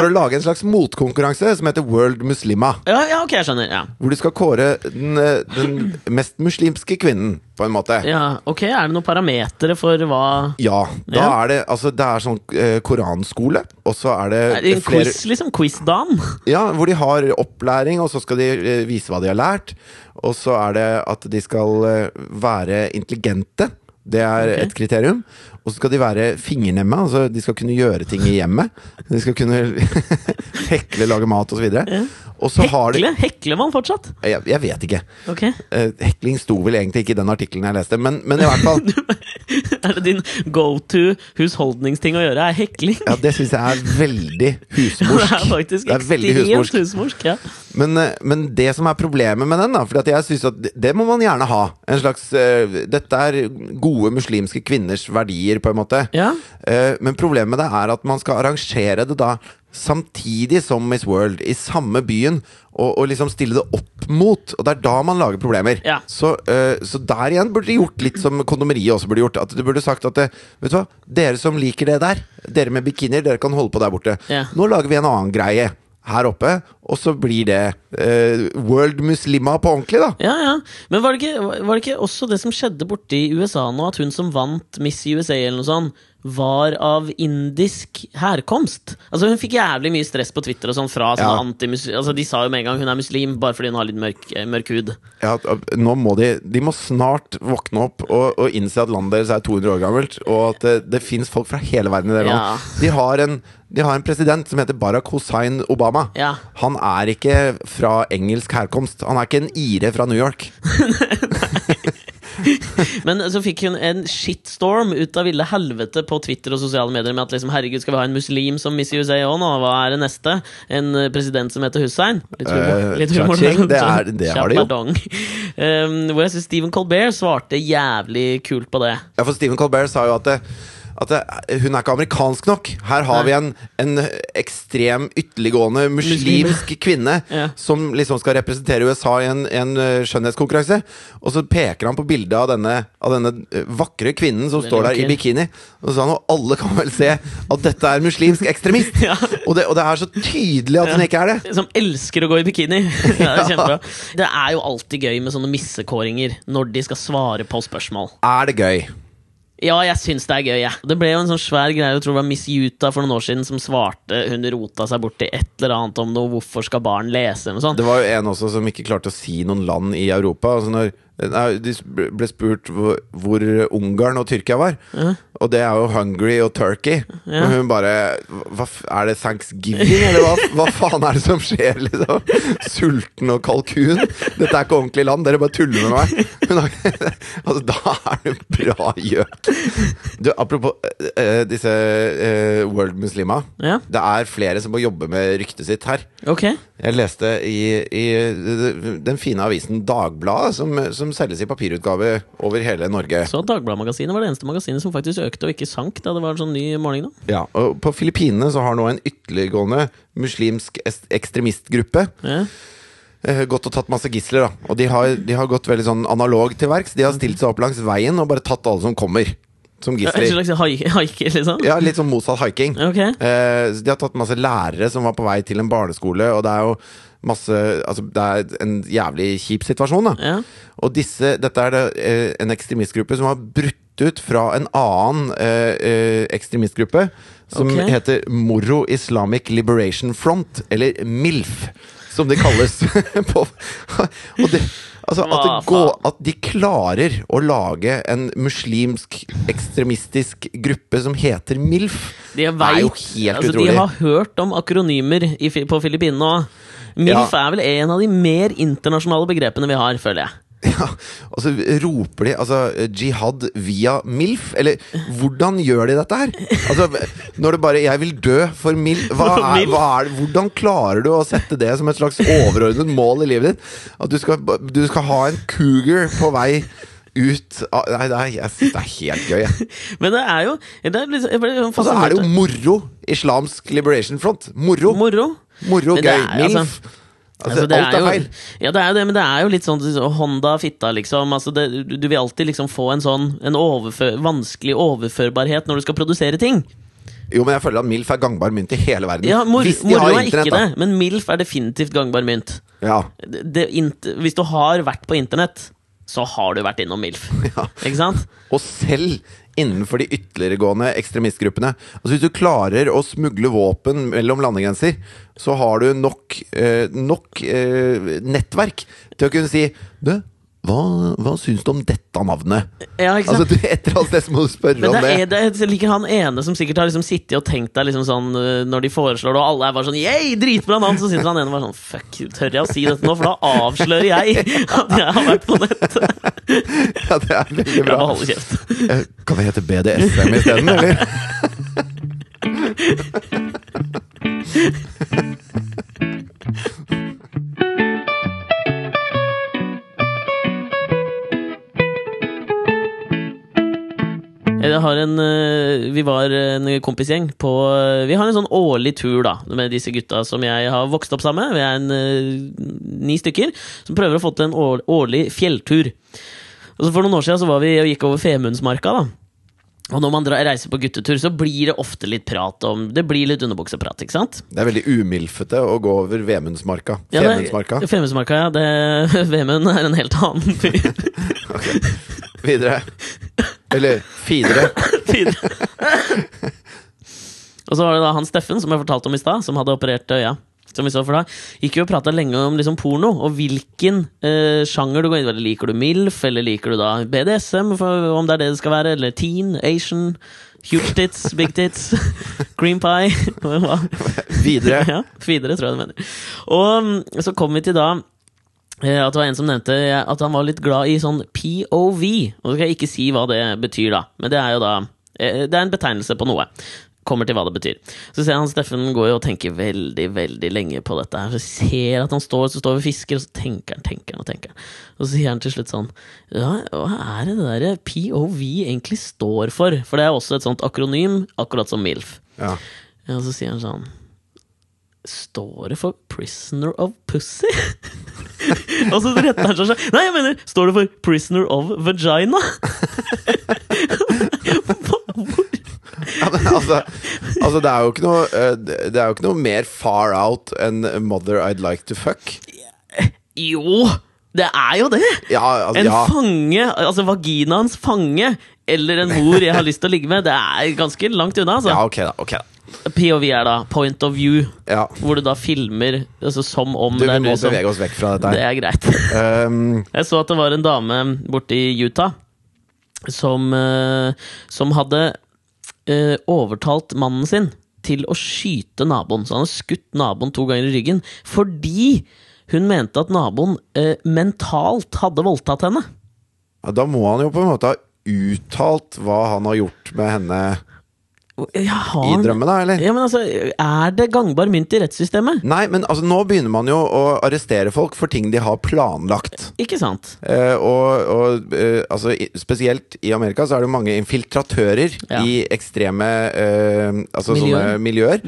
B: for å lage en slags motkonkurranse som heter World Muslima.
A: ja. Ja, ok, jeg skjønner. Ja.
B: Hvor du skal kåre den, eh, den mest muslimske kvinnen, på en måte.
A: ja, ok, Er det noen parametere for hva
B: Ja, da
A: Ja.
B: er det altså Det er sånn eh, koranskole, og så er det,
A: Er det en
B: flere
A: quiz, liksom? Quiz-Dan?
B: Ja, hvor de har opplæring, og så skal de eh, vise hva de har lært. Og så er det at de skal eh, være intelligente. Det er et kriterium. Og så skal de være fingernemme. Altså de skal kunne gjøre ting i hjemmet. De skal kunne [LAUGHS] hekle, lage mat osv. Og så har de
A: Hekle? Hekler man fortsatt?
B: jeg, jeg vet ikke.
A: Ok [LAUGHS]
B: Eh, hekling sto vel egentlig ikke i den artikkelen jeg leste, men, men i hvert
A: [LAUGHS]
B: fall.
A: Er det din go to husholdningsting å gjøre? Er hekling?
B: Ja, det syns jeg er veldig
A: [LAUGHS] det
B: husmorsk.
A: er faktisk
B: Det er veldig
A: ekstremt
B: husmorsk.
A: husmorsk. Ja.
B: Men, eh, men det som er problemet med den, da Fordi at jeg synes at det- det må man gjerne ha. En slags eh, Dette er gode muslimske kvinners verdier, på en måte.
A: Ja.
B: Eh, men problemet med det er at man skal arrangere det da samtidig som Miss World, i samme byen, og, og liksom stille det opp mot. Og det er da man lager problemer.
A: Ja.
B: Så, eh, så der igjen burde de gjort litt som kondomeriet også burde gjort. At du burde sagt at eh, Vet du hva, dere som liker det der, dere med bikinier, dere kan holde på der borte.
A: Ja.
B: Nå lager vi en annen greie her oppe, og så blir det eh, World Muslima på ordentlig, da.
A: Ja, ja. Men var det, ikke, var det ikke også det som skjedde borte i USA nå, at hun som vant Miss USA, eller noe sånt, var av indisk herkomst? Altså Hun fikk jævlig mye stress på Twitter og sånn fra sånne
B: Ja.
A: antimus... Altså, de sa jo med en gang hun er muslim, bare fordi hun har litt mørk, eh, mørk hud.
B: Ja, at- nå må de De må snart våkne opp og, og innse at landet deres er 200 år gammelt, og at det, det fins folk fra hele verden i det
A: Ja.
B: landet. De har, en, de har en president som heter Barack Hussein Obama.
A: Ja.
B: Han er ikke fra engelsk herkomst. Han er ikke en ire fra New York.
A: Men så fikk hun en shitstorm ut av ville helvete på Twitter og sosiale medier med at liksom, herregud, skal vi ha en muslim som Miss USA òg nå? Hva er det neste? En eh, president som heter Hussein? Litt humor.
B: Eh,
A: Litt humor
B: cha-ching, det er- det har de jo.
A: Pardon. Um, hvor jeg synes Stephen Colbert svarte jævlig kult på det.
B: Ja, for Stephen Colbert sa jo at, det, at det, hun er ikke amerikansk nok. Her har vi en, en ekstrem ytterliggående muslimsk kvinne
A: [LAUGHS] Ja.
B: som liksom skal representere USA i en, en eh, skjønnhetskonkurranse. Og så peker han på bildet av denne, av denne eh, vakre kvinnen som
A: Veldig
B: står der i
A: vakker.
B: bikini. Og så sa han og alle kan vel se at dette er muslimsk ekstremist!
A: [LAUGHS] Ja.
B: og, det, og det er så tydelig at hun ikke er det.
A: Som elsker å gå i bikini! [LAUGHS] det, er jo
B: [LAUGHS] Ja.
A: kjempebra. det er jo alltid gøy med sånne missekåringer når de skal svare på spørsmål.
B: Er det gøy?
A: Ja, jeg syns det er gøy. jeg. Det ble jo en sånn svær greie, jeg tror det var Miss Utah for noen år siden, som svarte Hun rota seg borti et eller annet om noe 'Hvorfor skal barn lese?' eller noe sånt.
B: Det var jo en også som ikke klarte å si noen land i Europa. Altså når, nei, de sp- ble spurt hvor, hvor Ungarn og Tyrkia var, og det er jo Hungary og Turkey.
A: Ja.
B: Og hun bare hva, f- Er det thanksgiving, eller hva, hva faen er det som skjer, liksom? Sulten og kalkun? Dette er ikke ordentlig land, dere bare tuller med meg. Hun har, [LAUGHS] altså, da er du bra gjøk. Du, apropos eh, disse eh, world muslima.
A: Ja,
B: Det er flere som må jobbe med ryktet sitt her.
A: ok
B: Jeg leste i, i den fine avisen Dagbladet, som, som selges i papirutgave over hele Norge.
A: Så Dagbladet-magasinet var det eneste magasinet som faktisk økte og ikke sank da det var en sånn ny måling nå.
B: Ja, og på Filippinene så har nå en ytterliggående muslimsk est- ekstremistgruppe
A: Ja.
B: eh, gått og tatt masse gisler. da Og de har, de har gått veldig sånn analog til verks. De har stilt seg opp langs veien og bare tatt alle som kommer, som
A: En
B: gisler.
A: slags haik- haiker, liksom?
B: Ja, Litt sånn motsatt haiking.
A: Ok.
B: Eh, så de har tatt masse lærere som var på vei til en barneskole, og det er jo masse Altså, det er en jævlig kjip situasjon, da.
A: Ja.
B: Og disse, dette er det, eh, en ekstremistgruppe som har brutt ut fra en annen eh, eh, ekstremistgruppe som
A: Ok.
B: heter Moro Islamic [LAUGHS] Liberation Front, eller MILF, som de kalles. på, og, det, Altså at,
A: Hva
B: det går, at de klarer å lage en muslimsk ekstremistisk gruppe som heter MILF,
A: De
B: Det er jo
A: vet-
B: helt
A: altså,
B: utrolig.
A: De har hørt om akronymer i, Fi- på Filippinene òg. MILF er vel en av de mer internasjonale begrepene vi har, føler jeg.
B: [LAUGHS] Ja, og så roper de altså, jihad via MILF? Eller hvordan gjør de dette her? Altså, når det bare 'jeg vil dø for MILF', hva
A: For
B: er,
A: MILF.
B: hva er, hvordan klarer du å sette det som et slags overordnet mål i livet ditt? At du skal, du skal ha en cougar på vei ut av Nei, det er, jeg synes det er helt gøy. jeg.
A: Men det er jo det er liksom, jeg ble sånn
B: Og så Altså, er det jo
A: fascinert.
B: moro. Islamsk Liberation Front. Moro,
A: moro.
B: moro
A: Men det
B: gøy.
A: er-
B: MILF. Altså,
A: Altså, det
B: alt er
A: jo,
B: feil.
A: Ja, det er jo det, men det er jo litt sånn så, Honda fitta, liksom. Altså, det, du, du vil alltid liksom få en sånn en overfø- vanskelig overførbarhet når du skal produsere ting.
B: Jo, men jeg føler at MILF er gangbar mynt i hele verden.
A: Ja, mor,
B: Hvis de
A: Moro
B: har
A: er ikke
B: internett, da.
A: det, men MILF er definitivt gangbar mynt.
B: Ja.
A: Det, det, int, hvis du har vært på internett, så har du vært innom MILF.
B: [LAUGHS] Ja.
A: Ikke sant?
B: Og selv innenfor de ytterliggående ekstremistgruppene. Altså Hvis du klarer å smugle våpen mellom landegrenser, så har du nok, eh, nok eh, nettverk til å kunne si Du, hva, hva syns du om dette navnet?
A: Ja, ikke sant?
B: Altså du, Etter alt det så må du spørre
A: men
B: om
A: det
B: det.
A: er, det er like han ene som sikkert har liksom sittet og tenkt deg liksom sånn øh, når de foreslår det, og alle er bare sånn Yay, dritbra navn! Så sitter han ene og bare sånn Fuck, tør jeg å si dette nå? For da avslører jeg at jeg har vært på nett.
B: [LAUGHS] Ja, det er veldig
A: Jeg
B: bra.
A: må holde kjeft.
B: Eh, Kan vi hete BDSM isteden, eller?
A: Jeg har en, øh, vi var en kompisgjeng på øh, Vi har en sånn årlig tur da med disse gutta som jeg har vokst opp sammen med. Vi er en, øh, ni stykker som prøver å få til en år, årlig fjelltur. Og så For noen år siden så var vi og gikk over Femundsmarka. da Og når man drar, reiser på guttetur, så blir det ofte litt prat om Det blir litt underbukseprat, ikke sant?
B: Det er veldig umilfete å gå over Vemundsmarka.
A: Ja, det-
B: Femundsmarka.
A: Femundsmarka, ja. Det, [LAUGHS] Vemund er en helt annen fyr.
B: Videre. Eller Fidere.
A: [LAUGHS] Videre. og så var det da han Steffen, som jeg fortalte om i stad, som hadde operert øya. Som vi så for da, Gikk jo og prata lenge om liksom porno, og hvilken eh, sjanger du går inn i. Liker du MILF, eller liker du da BDSM, for, om det er det det skal være? Eller teen, Asian, huge tits, big tits, [LAUGHS] green pie [LAUGHS] hva?
B: Videre.
A: [LAUGHS] Ja, videre, tror jeg det mener. Og mm, så kom vi til da eh, at det var en som nevnte eh, at han var litt glad i sånn POV. Og så skal jeg ikke si hva det betyr, da. Men det er jo da eh, Det er en betegnelse på noe. Kommer til hva det betyr. Så ser jeg han Steffen går jo og tenker veldig veldig lenge på dette. her Så ser at han står så står vi og fisker, og så tenker han tenker han og tenker. han. Og så sier han til slutt sånn Ja, hva er det det der POV egentlig står for? For det er også et sånt akronym, akkurat som MILF.
B: Ja.
A: Ja, og så sier han sånn Står det for 'prisoner of pussy'? [LAUGHS] og så retter han seg sånn. Nei, jeg mener, står det for 'prisoner of vagina'? [LAUGHS] Hvor-
B: Ja, men altså, altså det, er jo ikke noe, eh, det det er jo ikke noe mer far out enn 'mother I'd like to fuck'.
A: jo, det er jo det!
B: Ja, altså,
A: En
B: ja.
A: fange, altså vaginaens fange, eller en mor jeg har lyst til å ligge med, det er ganske langt unna, altså.
B: ja ok, da. ok da
A: POV er da point of view,
B: ja.
A: hvor du da filmer altså, som om
B: Du,
A: det
B: vi
A: er
B: må
A: noe som
B: bevege oss vekk fra dette.
A: Det
B: her
A: er greit.
B: Ehm,
A: Jeg så at det var en dame borte i Utah som, eh, som hadde eh, overtalt mannen sin til å skyte naboen. Så han hadde skutt naboen to ganger i ryggen fordi hun mente at naboen eh, mentalt hadde voldtatt henne.
B: ja, da må han jo på en måte ha uttalt hva han har gjort med henne
A: Jeg har...
B: i drømmen, da, eller?
A: Ja, men altså, Er det gangbar mynt i rettssystemet?
B: Nei, men altså, nå begynner man jo å arrestere folk for ting de har planlagt.
A: Ikke sant?
B: Eh, og og eh, altså, i- spesielt i Amerika så er det jo mange infiltratører
A: Ja.
B: i ekstreme eh, altså,
A: Miljøer. Mm.
B: sånne miljøer.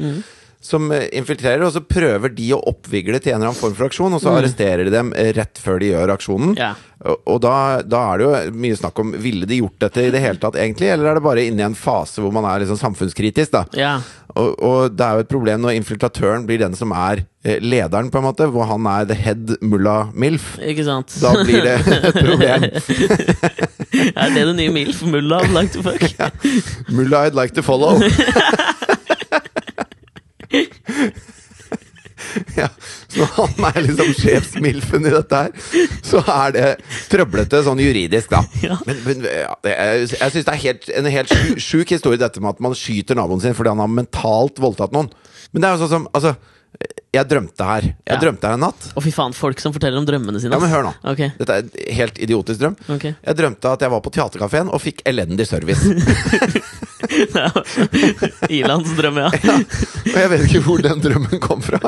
B: Som eh, infiltrerer, og så prøver de å oppvigle til en eller annen form for aksjon, og så arresterer de dem eh, rett før de gjør aksjonen.
A: Mm. Ja.
B: Og, og da, da er det jo mye snakk om ville de gjort dette i det hele tatt, egentlig, eller er det bare inne i en fase hvor man er liksom samfunnskritisk, da?
A: Ja.
B: Og, og det er jo et problem når infiltratøren blir den som er eh, lederen, på en måte, hvor han er the head mullah milf.
A: Ikke sant?
B: Da blir det et problem.
A: [LAUGHS] er det det nye MILF? Mulla like to
B: [LAUGHS]
A: fuck?
B: Mullah I'd like to follow. ja, Når han er liksom sjefsmilfen i dette her, så er det trøblete sånn juridisk, da.
A: Ja.
B: Men, men ja, det, jeg, jeg syns det er helt, en helt sju- sjuk historie, dette med at man skyter naboen sin fordi han har mentalt voldtatt noen. Men det er jo sånn som Altså, jeg drømte her. Jeg
A: Ja.
B: drømte her en natt.
A: Å, fy faen, folk som forteller om drømmene sine.
B: Ja, men
A: ass.
B: hør nå.
A: Ok.
B: Dette er en helt idiotisk drøm.
A: Ok.
B: Jeg drømte at jeg var på teaterkafeen og fikk elendig service.
A: [LAUGHS] Ilands drøm, ja.
B: Ja. Og jeg vet ikke hvor den drømmen kom fra.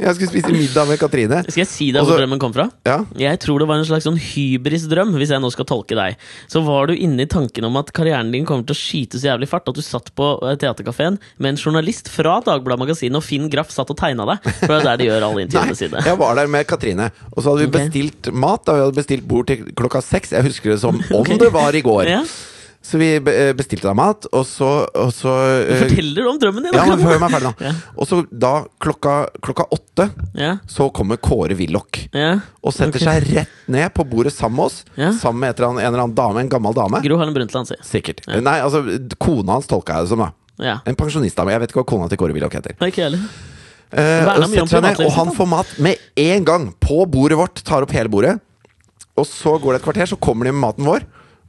B: Jeg skulle spise middag med Katrine.
A: Skal jeg si deg
B: Altså-
A: hvor drømmen kom fra?
B: Ja.
A: Jeg tror det var en slags sånn hybrisdrøm, hvis jeg nå skal tolke deg. Så var du inne i tanken om at karrieren din kommer til å skyte så jævlig fart at du satt på eh, Theatercaféen med en journalist fra Dagbladet Magasin, og Finn Graff satt og tegna deg. For det er der de gjør alle
B: [LAUGHS] Nei,
A: intervjuene sine.
B: jeg var der med Katrine, og så hadde vi
A: Ok.
B: bestilt mat. Da vi hadde bestilt bord til klokka seks. Jeg husker det
A: [LAUGHS]
B: som om
A: Ok.
B: det var i går.
A: Ja.
B: Så vi be- eh, bestilte da mat, og så, og så
A: Du
B: eh,
A: forteller om drømmen din!
B: Ja, men
A: akkurat nå.
B: hør meg ferdig, da.
A: Ja.
B: Og så da klokka, klokka åtte,
A: Ja.
B: så kommer Kåre Willoch.
A: Ja.
B: Og setter
A: Ok.
B: seg rett ned på bordet sammen med oss.
A: Ja.
B: Sammen med et eller annet, en eller annen dame, en gammel dame.
A: Gro Harlem Brundtland, si.
B: Sikkert. Nei, altså, kona hans tolka jeg det som, da.
A: Ja.
B: En pensjonistdame. Jeg vet ikke hva kona til Kåre Willoch heter.
A: Nei, ikke jeg heller.
B: Eh,
A: Verna
B: og,
A: mye om
B: setter seg ned,
A: privatlivet
B: og han
A: sitt,
B: får mat med en gang på bordet vårt. Tar opp hele bordet. Og så går det et kvarter, så kommer de med maten vår.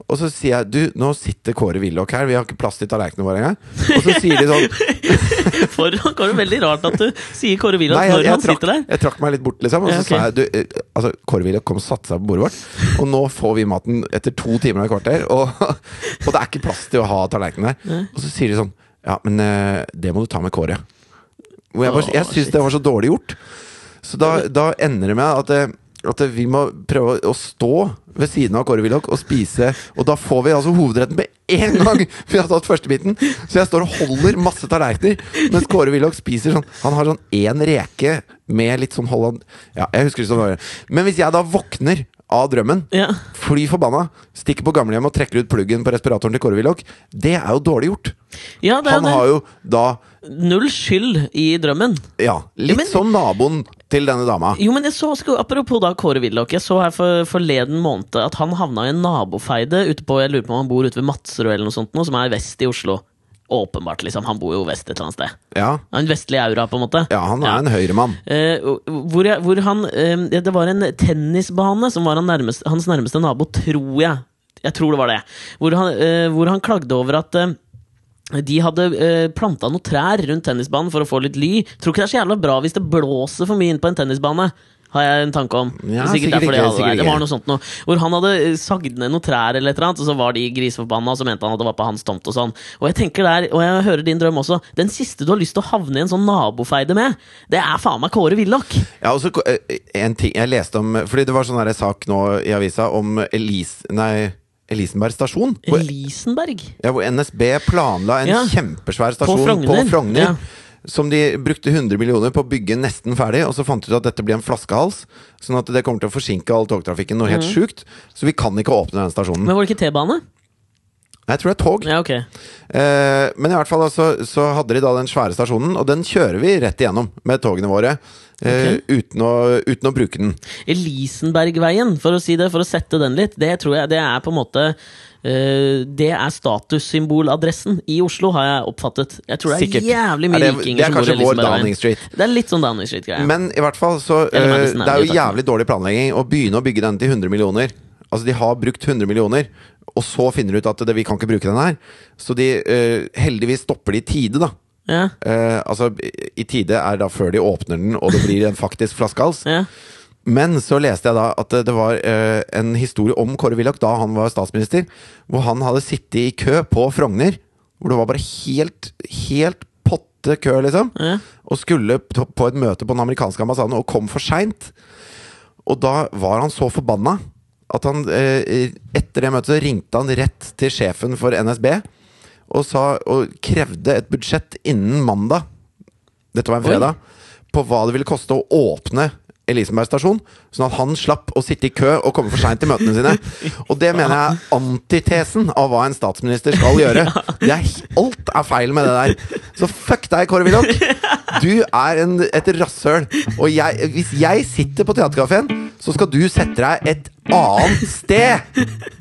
B: Og så sier jeg du, nå sitter Kåre Willoch her, vi har ikke plass til tallerkenene våre engang. Og så sier de sånn
A: [LAUGHS] For det var jo veldig rart at du sier Kåre Willoch
B: Nei, jeg,
A: når
B: jeg,
A: han
B: trakk,
A: sitter der.
B: jeg trakk meg litt bort, liksom. Og så
A: Ja,
B: sa jeg du, eh, altså, Kåre Willoch kom og satte seg på bordet vårt, og nå får vi maten etter to timer og et kvarter, og, [LAUGHS] og det er ikke plass til å ha tallerkenene her. Og så sier de sånn Ja, men eh, det må du ta med Kåre. Hvor jeg bare,
A: Åh,
B: jeg syns det var så dårlig gjort. Så da, da ender det med at, eh, at vi må prøve å stå ved siden av Kåre Willoch og spise. Og da får vi altså hovedretten med en gang! Vi har tatt førstebiten. Så jeg står og holder masse tallerkener, mens Kåre Willoch spiser sånn Han har sånn én reke med litt sånn Holland Ja, jeg husker ikke sånn det var. Men hvis jeg da våkner av drømmen
A: Ja.
B: Fly forbanna, stikker på gamlehjem og trekker ut pluggen på respiratoren til Kåre Willoch. Det er jo dårlig gjort.
A: ja, det er
B: Han
A: det.
B: har jo da
A: Null skyld i drømmen.
B: Ja, litt
A: men-
B: som naboen til denne dama.
A: Jo, men jeg så, skal- Apropos da Kåre Willoch. Jeg så her for, forleden måned at han havna i en nabofeide ute på Jeg lurer på om han bor ute ved Madserød eller noe sånt, nå, som er vest i Oslo. Åpenbart, liksom. Han bor jo vest et eller annet sted.
B: Ja,
A: Han vestlige aura, på en måte.
B: ja han er en høyremann.
A: Eh, hvor, jeg, hvor han eh, Det var en tennisbane som var han nærmest, hans nærmeste nabo, tror jeg. Jeg tror det var det. Hvor han, eh, hvor han klagde over at eh, de hadde eh, planta noen trær rundt tennisbanen for å få litt ly. Tror ikke det er så jævla bra hvis det blåser for mye inn på en tennisbane. Har jeg en tanke om. Det
B: Ja,
A: er
B: sikkert
A: sikkert derfor
B: ikke,
A: de hadde
B: sikkert
A: det. Det
B: ikke.
A: var noe sånt noe. Hvor han hadde eh, sagd ned noen trær eller et eller annet, og så var de griseforbanna, og så mente han at det var på hans tomt og sånn. Og jeg tenker der, og jeg hører din drøm også, den siste du har lyst til å havne i en sånn nabofeide med, det er faen meg Kåre Willoch!
B: Ja, og så ko- eh, en ting jeg leste om Fordi det var sånn her sak nå i avisa om Elis, nei, Elisenberg stasjon. Hvor,
A: Elisenberg.
B: ja, hvor NSB planla en
A: Ja.
B: kjempesvær stasjon på Frogner.
A: Frogner. Ja.
B: Som de brukte 100 millioner på å bygge nesten ferdig, og så fant de ut at dette blir en flaskehals. Sånn at det kommer til å forsinke all togtrafikken noe helt sjukt. Så vi kan ikke åpne den stasjonen.
A: Men var det ikke T-bane?
B: Jeg tror det er tog.
A: Ja, ok.
B: Eh, men i hvert fall altså, så hadde de da den svære stasjonen, og den kjører vi rett igjennom med togene våre. eh, uten, å, uten å bruke den.
A: Elisenbergveien, for å si det, for å sette den litt, det tror jeg det er på en måte eh, det er statussymboladressen i Oslo, har jeg oppfattet. Jeg tror det er
B: Sikkert.
A: jævlig
B: Er
A: mye
B: det- det er
A: rikinger som bor i
B: kanskje vår
A: Elisenbergveien.
B: Downing Street.
A: Det er litt sånn Downing Street-greie.
B: Men i hvert fall så
A: Eller
B: eh,
A: Madison
B: Det er jo
A: Avenue, takk.
B: jævlig dårlig planlegging å begynne å bygge den til 100 millioner. Altså de har brukt 100 millioner, og så finner de ut at det, vi kan ikke bruke den her. Så de eh, heldigvis stopper det i tide, da.
A: Ja,
B: Eh, altså i tide er da før de åpner den, og det blir en faktisk
A: [LAUGHS]
B: flaskehals.
A: ja.
B: Men så leste jeg da at det var eh, en historie om Kåre Willoch da han var statsminister, hvor han hadde sittet i kø på Frogner, hvor det var bare helt, helt potte kø, liksom,
A: Ja.
B: og skulle på på et møte på den amerikanske ambassaden og kom for seint. Og da var han så forbanna at han eh, etter det møtet så ringte han rett til sjefen for NSB og, sa, og krevde et budsjett innen mandag. Dette var en
A: Oi.
B: fredag. På hva det ville koste å åpne Elisenberg stasjon, sånn at han slapp å sitte i kø og komme for seint til møtene sine. Og det mener jeg er antitesen av hva en statsminister skal gjøre. Det er, alt er feil med det der. Så fuck deg, Kåre Willoch. Du er en, et rasshøl. Og jeg, hvis jeg sitter på Theatercaféen, så skal du sette deg et annet sted!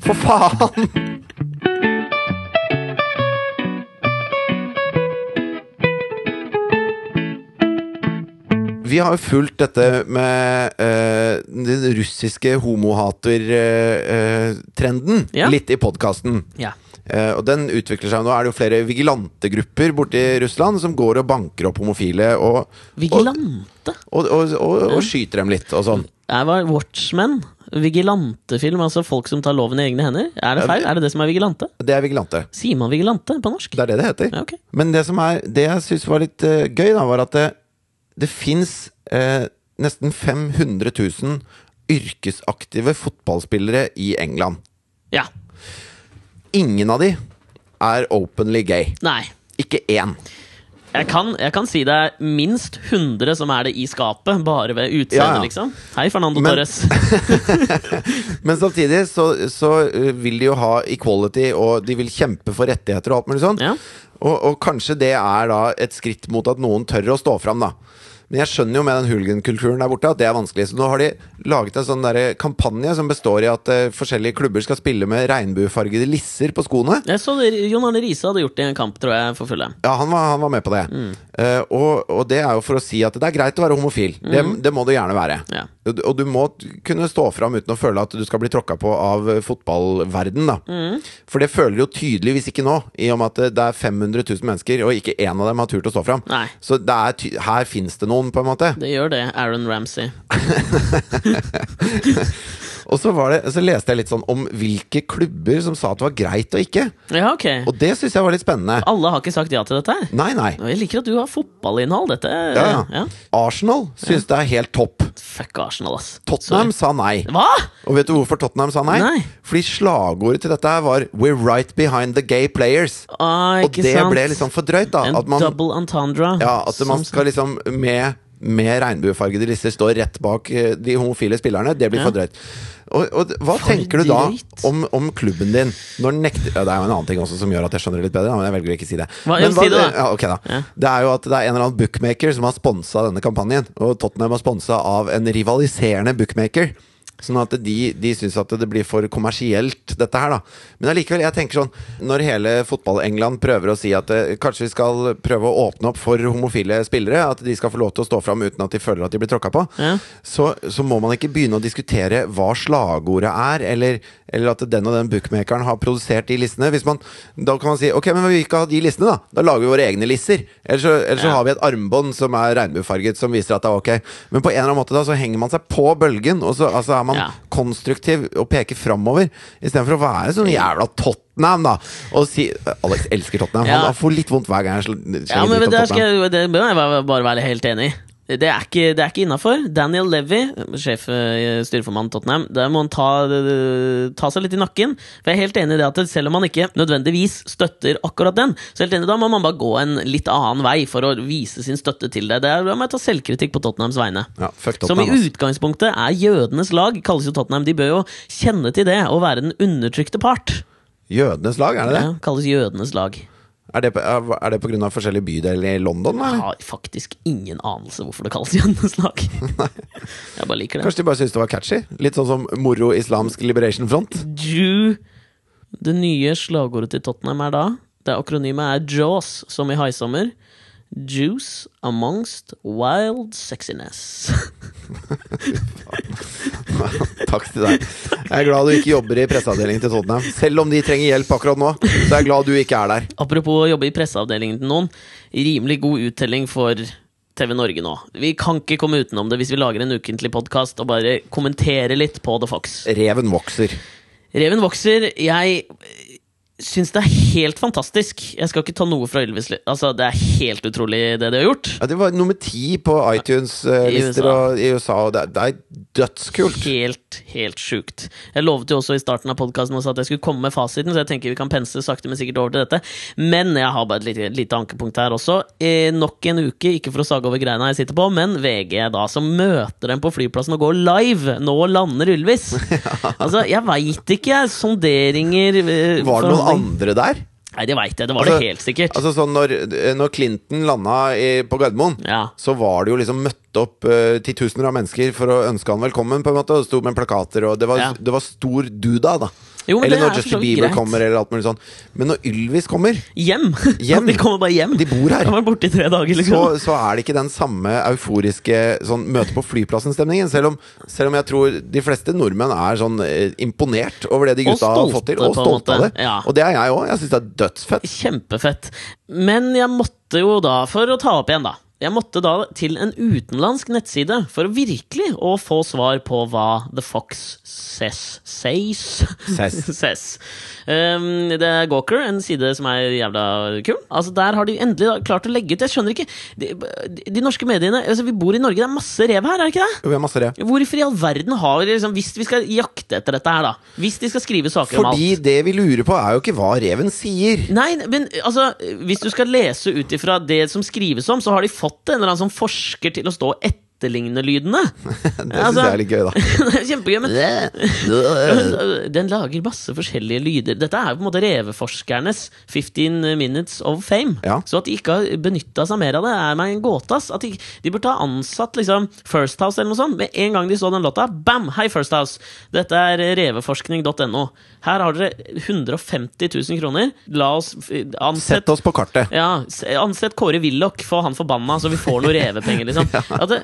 B: For faen! vi har jo fulgt dette med eh, den russiske homohater-trenden
A: Ja.
B: litt i podkasten.
A: Ja.
B: Eh, og den utvikler seg Nå er det jo flere vigilantegrupper borte i Russland som går og banker opp homofile og, og,
A: Vigilante?
B: og, og, og, og skyter dem litt og sånn.
A: Jeg var Watchmen. Vigilantefilm, altså folk som tar loven i egne hender. Er det feil? Er det det som er vigilante?
B: Det er vigilante.
A: Sier man vigilante på norsk?
B: Det er det det heter.
A: Ja, ok.
B: Men det som er Det jeg syns var litt eh, gøy, da, var at det, det fins eh, nesten 500 000 yrkesaktive fotballspillere i England.
A: Ja.
B: Ingen av de er openly gay.
A: Nei.
B: Ikke én.
A: Jeg kan, jeg kan si det er minst 100 som er det i skapet, bare ved utseendet,
B: Ja, ja.
A: liksom. Hei, Fernando
B: Men-
A: Torres.
B: Men samtidig så, så eh, vil de jo ha equality, og de vil kjempe for rettigheter og alt mulig sånn.
A: Ja.
B: Og, og kanskje det er da et skritt mot at noen tør å stå fram, da. Men jeg skjønner jo med den hooligan-kulturen der borte at det er vanskelig. Så nå har de laget en sånn der kampanje som består i at eh, forskjellige klubber skal spille med regnbuefargede lisser på skoene.
A: Jeg så det, Jon Arne Riise hadde gjort det i en kamp, tror jeg, for fulle.
B: Ja, han var, han var med på det.
A: Mm.
B: Eh, og, og det er jo for å si at det er greit å være homofil. Det, det må du gjerne være.
A: Mm. Ja.
B: Og, du- og du må t- kunne stå fram uten å føle at du skal bli tråkka på av eh, fotballverden da.
A: Mm.
B: For det føler du jo tydeligvis ikke nå, i og med at eh, det- det er 500 000 mennesker, og ikke én av dem har turt å stå fram.
A: Nei.
B: Så det er ty her fins det noen, på en måte.
A: Det gjør det, Aaron Ramsey.
B: Og så, var det, så leste jeg litt sånn om hvilke klubber som sa at det var greit og ikke.
A: Ja, ok.
B: Og det syns jeg var litt spennende.
A: Alle har ikke sagt ja til dette her.
B: Nei, nei.
A: Og Jeg liker at du har fotballinnhold. Dette
B: Ja, ja. Arsenal syns det er helt topp.
A: Fuck Arsenal, ass.
B: Tottenham sa nei.
A: Sorry. Hva?!
B: Og vet du hvorfor Tottenham sa nei?
A: Nei.
B: Fordi slagordet til dette her var 'We're right behind the gay players'.
A: Ah,
B: Og
A: ikke
B: det
A: sant?
B: ble liksom for drøyt, da.
A: En
B: At man,
A: double entendre.
B: ja, at man
A: Som-
B: skal liksom med med regnbuefargede lister står rett bak eh, de homofile spillerne. Det blir for drøyt. Og, og d- hva tenker du da
A: drøyt.
B: om, om klubben din når den nekter ja, Det er jo en annen ting også som gjør at jeg skjønner det litt bedre, da, men jeg velger å ikke si det.
A: Hva-
B: men,
A: jo, si det da.
B: ja, ok da. Det er jo at det er en eller annen bookmaker som har sponsa denne kampanjen. Og Tottenham har sponsa av en rivaliserende bookmaker. Sånn at de, de syns at det blir for kommersielt, dette her, da. Men allikevel, jeg tenker sånn Når hele fotball-England prøver å si at eh, kanskje vi skal prøve å åpne opp for homofile spillere, at de skal få lov til å stå fram uten at de føler at de blir tråkka på,
A: Ja.
B: så, så må man ikke begynne å diskutere hva slagordet er, eller, eller at den og den bookmakeren har produsert de listene. Hvis man, da kan man si ok, men vi vil ikke ha de listene, da. Da lager vi våre egne lister. Eller så, eller så
A: Ja.
B: har vi et armbånd som er regnbuefarget, som viser at det er ok. Men på en eller annen måte da, så henger man seg på bølgen, og så altså, er man
A: Ja.
B: konstruktiv og peker framover, istedenfor å være sånn jævla Tottenham, da. Og si Alex elsker Tottenham.
A: Ja.
B: Han får litt vondt hver gang jeg sl- skjeller
A: Ja,
B: ut
A: men
B: om
A: der
B: Tottenham.
A: skal jeg, det bør jeg bare- bare være helt enig i. Det er ikke, det er ikke innafor. Daniel Levy, sjef eh, styreformann Tottenham, der må han ta, eh, ta seg litt i nakken. For jeg er helt enig i det at selv om han ikke nødvendigvis støtter akkurat den, så er jeg helt enig, da må man bare gå en litt annen vei for å vise sin støtte til det. det er, da må jeg ta selvkritikk på Tottenhams vegne.
B: Ja, fuck
A: Som i
B: Tottenham, ass.
A: utgangspunktet er jødenes lag, kalles jo Tottenham. De bør jo kjenne til det, og være den undertrykte part.
B: Jødenes lag, er det det?
A: Ja, kalles jødenes lag.
B: Er det, på- er det på grunn av forskjellige bydeler i London?
A: Jeg
B: Eller?
A: har faktisk ingen anelse hvorfor det kalles jødenes lag. Jeg bare liker det.
B: Kanskje de bare syntes det var catchy? Litt sånn som Moro Islamsk Liberation Front? [LAUGHS]
A: Jew. Det nye slagordet til Tottenham er da Det akronymet er Jaws, som i Haisommer. Juice amongst wild sexiness. [LAUGHS]
B: Takk til deg. Jeg er glad du ikke jobber i presseavdelingen til Tottenham. Selv om de trenger hjelp akkurat nå, så er jeg glad du ikke er der.
A: Apropos å jobbe i presseavdelingen til noen. Rimelig god uttelling for TV Norge nå. Vi kan ikke komme utenom det hvis vi lager en ukentlig podkast og bare kommenterer litt på The Fox.
B: Reven vokser.
A: Reven vokser. Jeg eh, syns det er helt fantastisk. Jeg skal ikke ta noe fra Ylvis. li- Altså, det er helt utrolig, det de har gjort.
B: Ja, det var nummer ti på
A: I
B: iTunes-lister
A: USA.
B: i USA, og det, det er dødskult.
A: Helt, helt sjukt. Jeg lovet jo også i starten av podkasten at jeg skulle komme med fasiten, så jeg tenker vi kan pense sakte, men sikkert over til dette. Men jeg har bare et lite, lite ankepunkt her også. Eh, nok en uke, ikke for å sage over greina jeg sitter på, men VG, da, som møter dem på flyplassen og går live. Nå lander Ylvis.
B: [LAUGHS]
A: Altså, jeg veit ikke, jeg. Sonderinger eh,
B: Var det noen
A: forhandling-
B: andre der?
A: Nei, det veit jeg. Det var
B: Altså-
A: det helt sikkert.
B: Altså sånn når, når Clinton landa i, på Gardermoen,
A: Ja.
B: så var det jo liksom møtt opp eh, titusener av mennesker for å ønske han velkommen, på en måte, og sto med plakater, og det var,
A: Ja.
B: det var stor duda, da.
A: Jo, men
B: eller
A: det
B: når
A: er for så
B: Justin
A: vidt
B: Bieber
A: greit.
B: kommer, eller alt mulig sånn. Men når Ylvis kommer,
A: Hjem! [LAUGHS]
B: Hjem.
A: De kommer bare hjem.
B: De bor her.
A: De var borte i tre dager,
B: så,
A: liksom.
B: så er det ikke den samme euforiske sånn møte på flyplassen-stemningen. Selv, om- selv om jeg tror de fleste nordmenn er sånn eh, imponert over det de
A: Og
B: gutta har fått
A: stolte,
B: til, og
A: på en
B: stolte av det.
A: måte. Ja.
B: Og det er jeg òg. Jeg syns det er dødsfett.
A: Kjempefett. Men jeg måtte jo da, for å ta opp igjen, da Jeg måtte da til en utenlandsk nettside for virkelig å få svar på hva The Fox says. Says.
B: Says.
A: [LAUGHS] Says. Um, det er Gawker, en side som er jævla kul. Altså Der har de endelig da klart å legge ut Jeg skjønner ikke De, de, de norske mediene altså Vi bor i Norge, det er masse rev her, er det ikke det?
B: Jo, vi har masse det.
A: Hvorfor i all verden har vi liksom Hvis vi skal jakte etter dette her, da. Hvis de skal skrive saker om alt.
B: Fordi det vi lurer på, er jo ikke hva reven sier. [LAUGHS]
A: Nei, men altså, hvis du skal lese ut ifra det som skrives om, så har de fått en eller annen som forsker til å stå og etterligne lydene.
B: Det syns
A: Altså.
B: jeg er
A: [LAUGHS]
B: litt gøy, da.
A: Det er Kjempegøy, men
B: Det
A: eh, den lager masse forskjellige lyder. Dette er jo på en måte reveforskernes 15 minutes of fame.
B: Ja.
A: Så at de ikke har benytta seg mer av det, er meg en gåte. ass. At de, de burde ha ansatt liksom First House eller noe sånt. Med en gang de så den låta, bam! Hei, First House! Dette er eh, reveforskning.no. Her har dere 150 000 kroner. La oss eh, ansette
B: Sett oss på kartet.
A: ja, s- ansett Kåre Willoch, få han forbanna, så vi får noen revepenger,
B: [LAUGHS]
A: liksom. At det,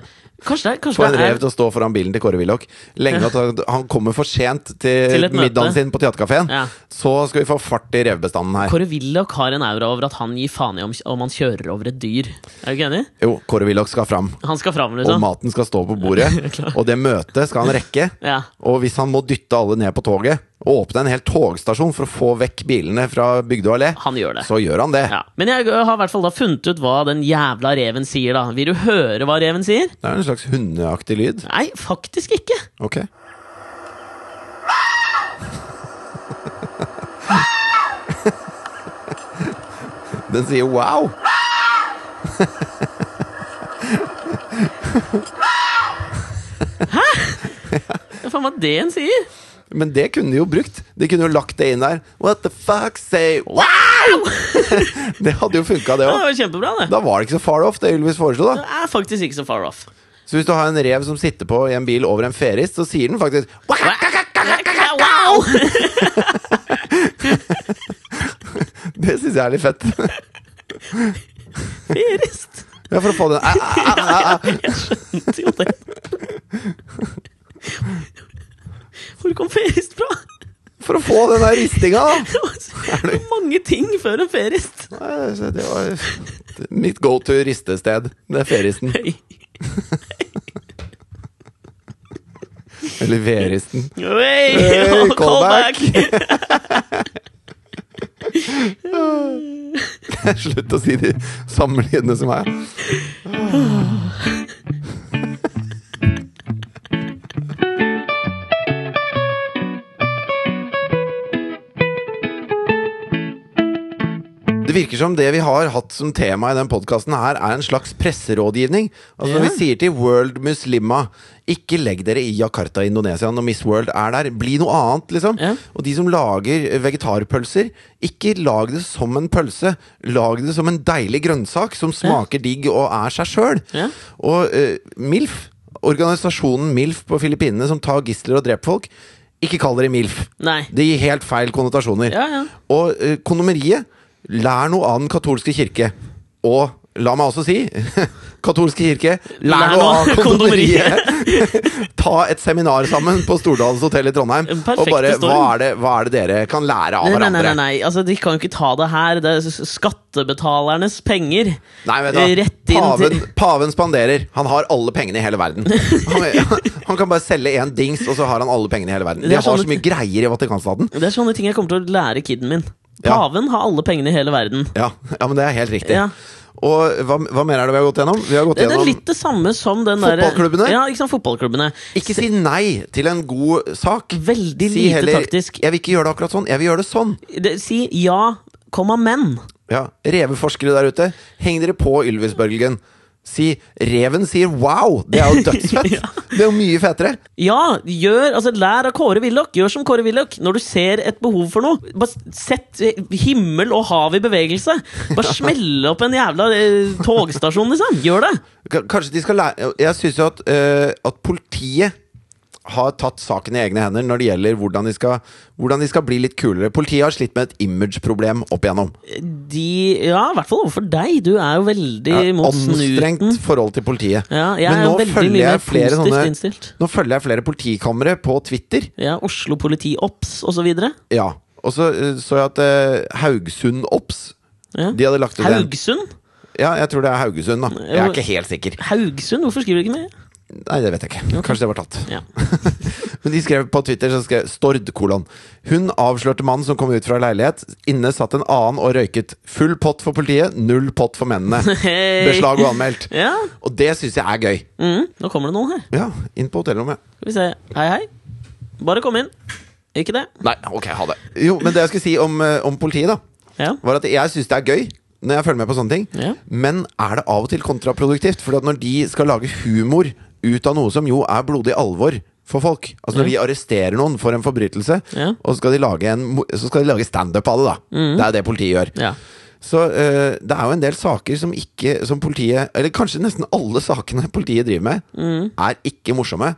A: kanskje det, er-
B: Få
A: kanskje
B: en
A: det er
B: rev til å stå foran bilen til Kåre Willoch.
A: [LAUGHS]
B: Lenge at han- han kommer for sent til,
A: Til et møte.
B: middagen sin på Theatercaféen.
A: Ja.
B: Så skal vi få fart i revbestanden her.
A: Kåre Willoch har en aura over at han gir faen i om, om han kjører over et dyr. Er du ikke enig?
B: Jo, Kåre Willoch skal fram.
A: Han skal fram,
B: Og
A: liksom.
B: maten skal stå på
A: [LAUGHS]
B: bordet. Og det møtet skal han rekke.
A: Ja.
B: Og hvis han må dytte alle ned på toget, og åpne en hel togstasjon for å få vekk bilene fra Bygdøy allé,
A: Han gjør det.
B: så gjør han det.
A: Ja. Men jeg har i hvert fall da funnet ut hva den jævla reven sier, da. Vil du høre hva reven sier?
B: Det er en slags hundeaktig lyd.
A: Nei, faktisk ikke.
B: Ok. [LAUGHS] Den sier wow.
A: Hva faen var det en sier?
B: Men det kunne de jo brukt. De kunne jo lagt det inn der. What the fuck say wow! det hadde jo funka,
A: [LAUGHS]
B: det
A: Det
B: òg.
A: var jo kjempebra, det.
B: Da var det ikke så far off, det Ylvis foreslo. da
A: Det er faktisk ikke så far off.
B: Så hvis du har en rev som sitter på i en bil over en ferist, så sier den faktisk
A: Wow!
B: Det syns jeg er litt fett.
A: Ferist.
B: Ja, for å få den [LAUGHS] æ, æ, æ, æ, æ.
A: Jeg skjønte jo det. Hvor kom ferist fra?
B: For å få den der ristinga, da.
A: Det var så mange ting før en ferist.
B: Nei, så Det var mitt go to ristested. Det er feristen.
A: Høy.
B: Eller veristen.
A: Hey, [LAUGHS]
B: Hey, callback. Slutt å si de samme lydene som meg. Det virker som det vi har hatt som tema i den podkasten her, er en slags presserådgivning. Altså Når vi sier til World Muslima ikke legg dere i Jakarta, Indonesia, når Miss World er der. Bli noe annet, liksom.
A: Ja.
B: Og de som lager vegetarpølser, ikke lag det som en pølse. Lag det som en deilig grønnsak som smaker digg og er seg sjøl.
A: Ja.
B: Og eh, MILF, organisasjonen MILF på Filippinene som tar gisler og dreper folk, ikke kall dere MILF.
A: Nei.
B: Det gir helt feil konnotasjoner.
A: Ja, ja.
B: Og eh, kondomeriet lær noe av den katolske kirke. Og la meg også si [LAUGHS] katolske kirke, lær, noe av [LAUGHS] kondomeriet! [LAUGHS] Ta et seminar sammen på Stordalens hotell i Trondheim.
A: Perfekte
B: Og bare hva
A: storm.
B: er, det, hva er det dere kan lære av
A: Nei, nei,
B: hverandre?
A: nei, nei, nei. Altså, de kan jo ikke ta det her. Det er s- skattebetalernes penger.
B: Nei, vet du hva?
A: Rett inn
B: paven,
A: til
B: paven spanderer. Han har alle pengene i hele
A: [LAUGHS]
B: verden. Han, han kan bare selge én dings, og så har han alle pengene i hele verden.
A: Det
B: De
A: er
B: har
A: sånn-
B: så mye greier i Vatikanstaten.
A: Det er sånne ting jeg kommer til å lære kiden min.
B: Ja.
A: Paven har alle pengene i hele verden.
B: Ja, ja men det er helt riktig.
A: Ja.
B: Og hva, hva mer er det vi har gått gjennom? Vi har gått
A: Det er
B: gjennom
A: litt det samme som den der-
B: Fotballklubbene?
A: Ja, ikke sant, fotballklubbene.
B: Ikke si nei til en god sak.
A: Veldig
B: si
A: lite
B: heller,
A: taktisk.
B: Jeg vil ikke gjøre det akkurat sånn, jeg vil gjøre det sånn.
A: Det- Si ja, komma, men.
B: Ja, Reveforskere der ute, heng dere på Ylvis-bølgen. Si 'reven sier wow'! Det er jo
A: [LAUGHS]
B: dødsfett! Det er jo mye fetere.
A: Ja, gjør, altså lær av Kåre Willoch. Gjør som Kåre Willoch. Når du ser et behov for noe, bare sett eh, himmel og hav i bevegelse.
B: [LAUGHS]
A: Bare smelle opp en jævla eh, togstasjon, liksom. Gjør det.
B: K- Kanskje de skal lære Jeg syns jo at, eh, at politiet har tatt saken i egne hender når det gjelder hvordan de skal, hvordan de skal bli litt kulere. Politiet har slitt med et image-problem opp igjennom.
A: De Ja, i hvert fall overfor deg. Du er jo veldig
B: Ja,
A: mot
B: Anstrengt
A: snuten.
B: forhold til politiet.
A: Ja, jeg
B: Men
A: er
B: nå
A: veldig
B: følger
A: mye
B: jeg
A: mer
B: flere
A: positivt
B: sånne-
A: innstilt.
B: Nå følger jeg flere politikamre på Twitter.
A: Ja, Oslo politi OBS og så videre.
B: Ja. Og så eh, så jeg at eh, Haugesund Ops
A: Ja.
B: De hadde lagt ut en
A: Haugesund?
B: Ja, jeg tror det er Haugesund, da. Jeg er ikke helt sikker.
A: Haugesund? Hvorfor skriver du ikke med?
B: Nei, det vet jeg ikke. Kanskje det var tatt.
A: Ja.
B: Men de skrev på Twitter så skrev Stord, kolon. Hun avslørte mannen som kom ut fra leilighet. Inne satt en annen og røyket. Full pott for politiet, null pott for mennene.
A: [LAUGHS] Hei.
B: Beslag og anmeldt.
A: ja.
B: Og det syns jeg er gøy.
A: Mm, nå kommer det noen her.
B: Ja, inn på hotellrommet.
A: Skal vi se. Hei, hei. Bare kom inn. Ikke det?
B: Nei, ok, ha det. Jo, men det jeg skulle si om, eh, om politiet, da,
A: Ja.
B: var at jeg syns det er gøy. Når jeg følger med på sånne ting.
A: Ja.
B: Men er det av og til kontraproduktivt? Fordi at når de skal lage humor ut av noe som jo er blodig alvor for folk Altså når de arresterer noen for en forbrytelse,
A: Ja.
B: og så skal de lage, en mo- så skal de lage standup av det, da. Det er det politiet gjør.
A: ja.
B: Så eh, det er jo en del saker som ikke Som politiet Eller kanskje nesten alle sakene [LAUGHS] politiet driver med, er ikke morsomme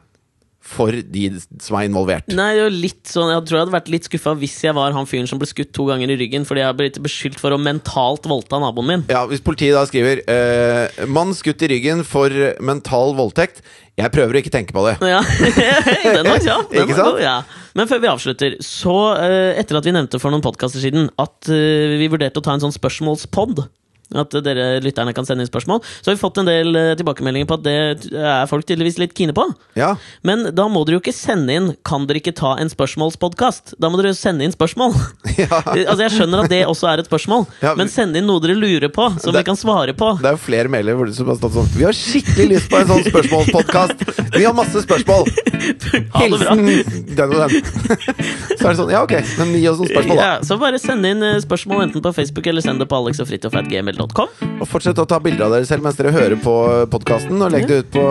B: for de som er involvert.
A: Nei, det er jo litt sånn Jeg tror jeg hadde vært litt skuffa hvis jeg var han fyren som ble skutt to ganger i ryggen fordi jeg har blitt beskyldt for å mentalt voldta naboen min.
B: Ja, Hvis politiet da skriver eh, 'Mann skutt i ryggen for mental voldtekt'. Jeg prøver å ikke tenke på det.
A: Ja, [LAUGHS] den var kjapp. Den
B: Ikke
A: var
B: sant?
A: god, ja. Men før vi avslutter, så eh, etter at vi nevnte for noen podkaster siden at eh, vi vurderte å ta en sånn spørsmålspod at eh, dere lytterne kan sende inn spørsmål. Så har vi fått en del eh, tilbakemeldinger på at det er folk tydeligvis litt kine på.
B: Ja,
A: Men da må dere jo ikke sende inn 'Kan dere ikke ta en spørsmålspodkast'? Da må dere jo sende inn spørsmål.
B: [LAUGHS] Ja.
A: [LAUGHS] altså Jeg skjønner at det også er et spørsmål,
B: Ja,
A: men
B: vi-
A: send inn noe dere lurer på, som
B: Det-
A: vi kan svare på.
B: Det er jo flere mailer hvor det som har stått sånn Vi har skikkelig lyst på en sånn spørsmålspodkast! Vi har masse spørsmål!
A: Ha det bra.
B: Hilsen den og den. Så er det sånn, ja ok, men gi oss noen spørsmål, da.
A: Ja, så bare send inn eh, spørsmål enten på Facebook eller send det på alexogfritjofatgmail.com.
B: Og fortsett å ta bilder av dere selv mens dere hører på podkasten, og legg det ut på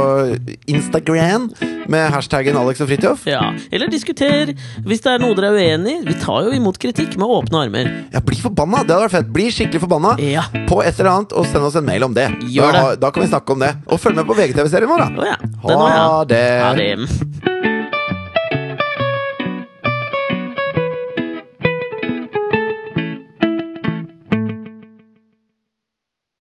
B: Instagram med hashtaggen Alex og Fridtjof.
A: Ja. Eller diskuter hvis det er noe dere er uenig i. Vi tar jo imot kritikk med åpne armer.
B: Ja, bli forbanna! Det hadde vært fett. Bli skikkelig forbanna
A: Ja.
B: på et eller annet, og send oss en mail om det.
A: Gjør
B: Da, da kan vi snakke om det. Og følg med på VGTV-serien vår,
A: Å
B: da.
A: ja. Den var
B: Ha det.
A: Ja, det.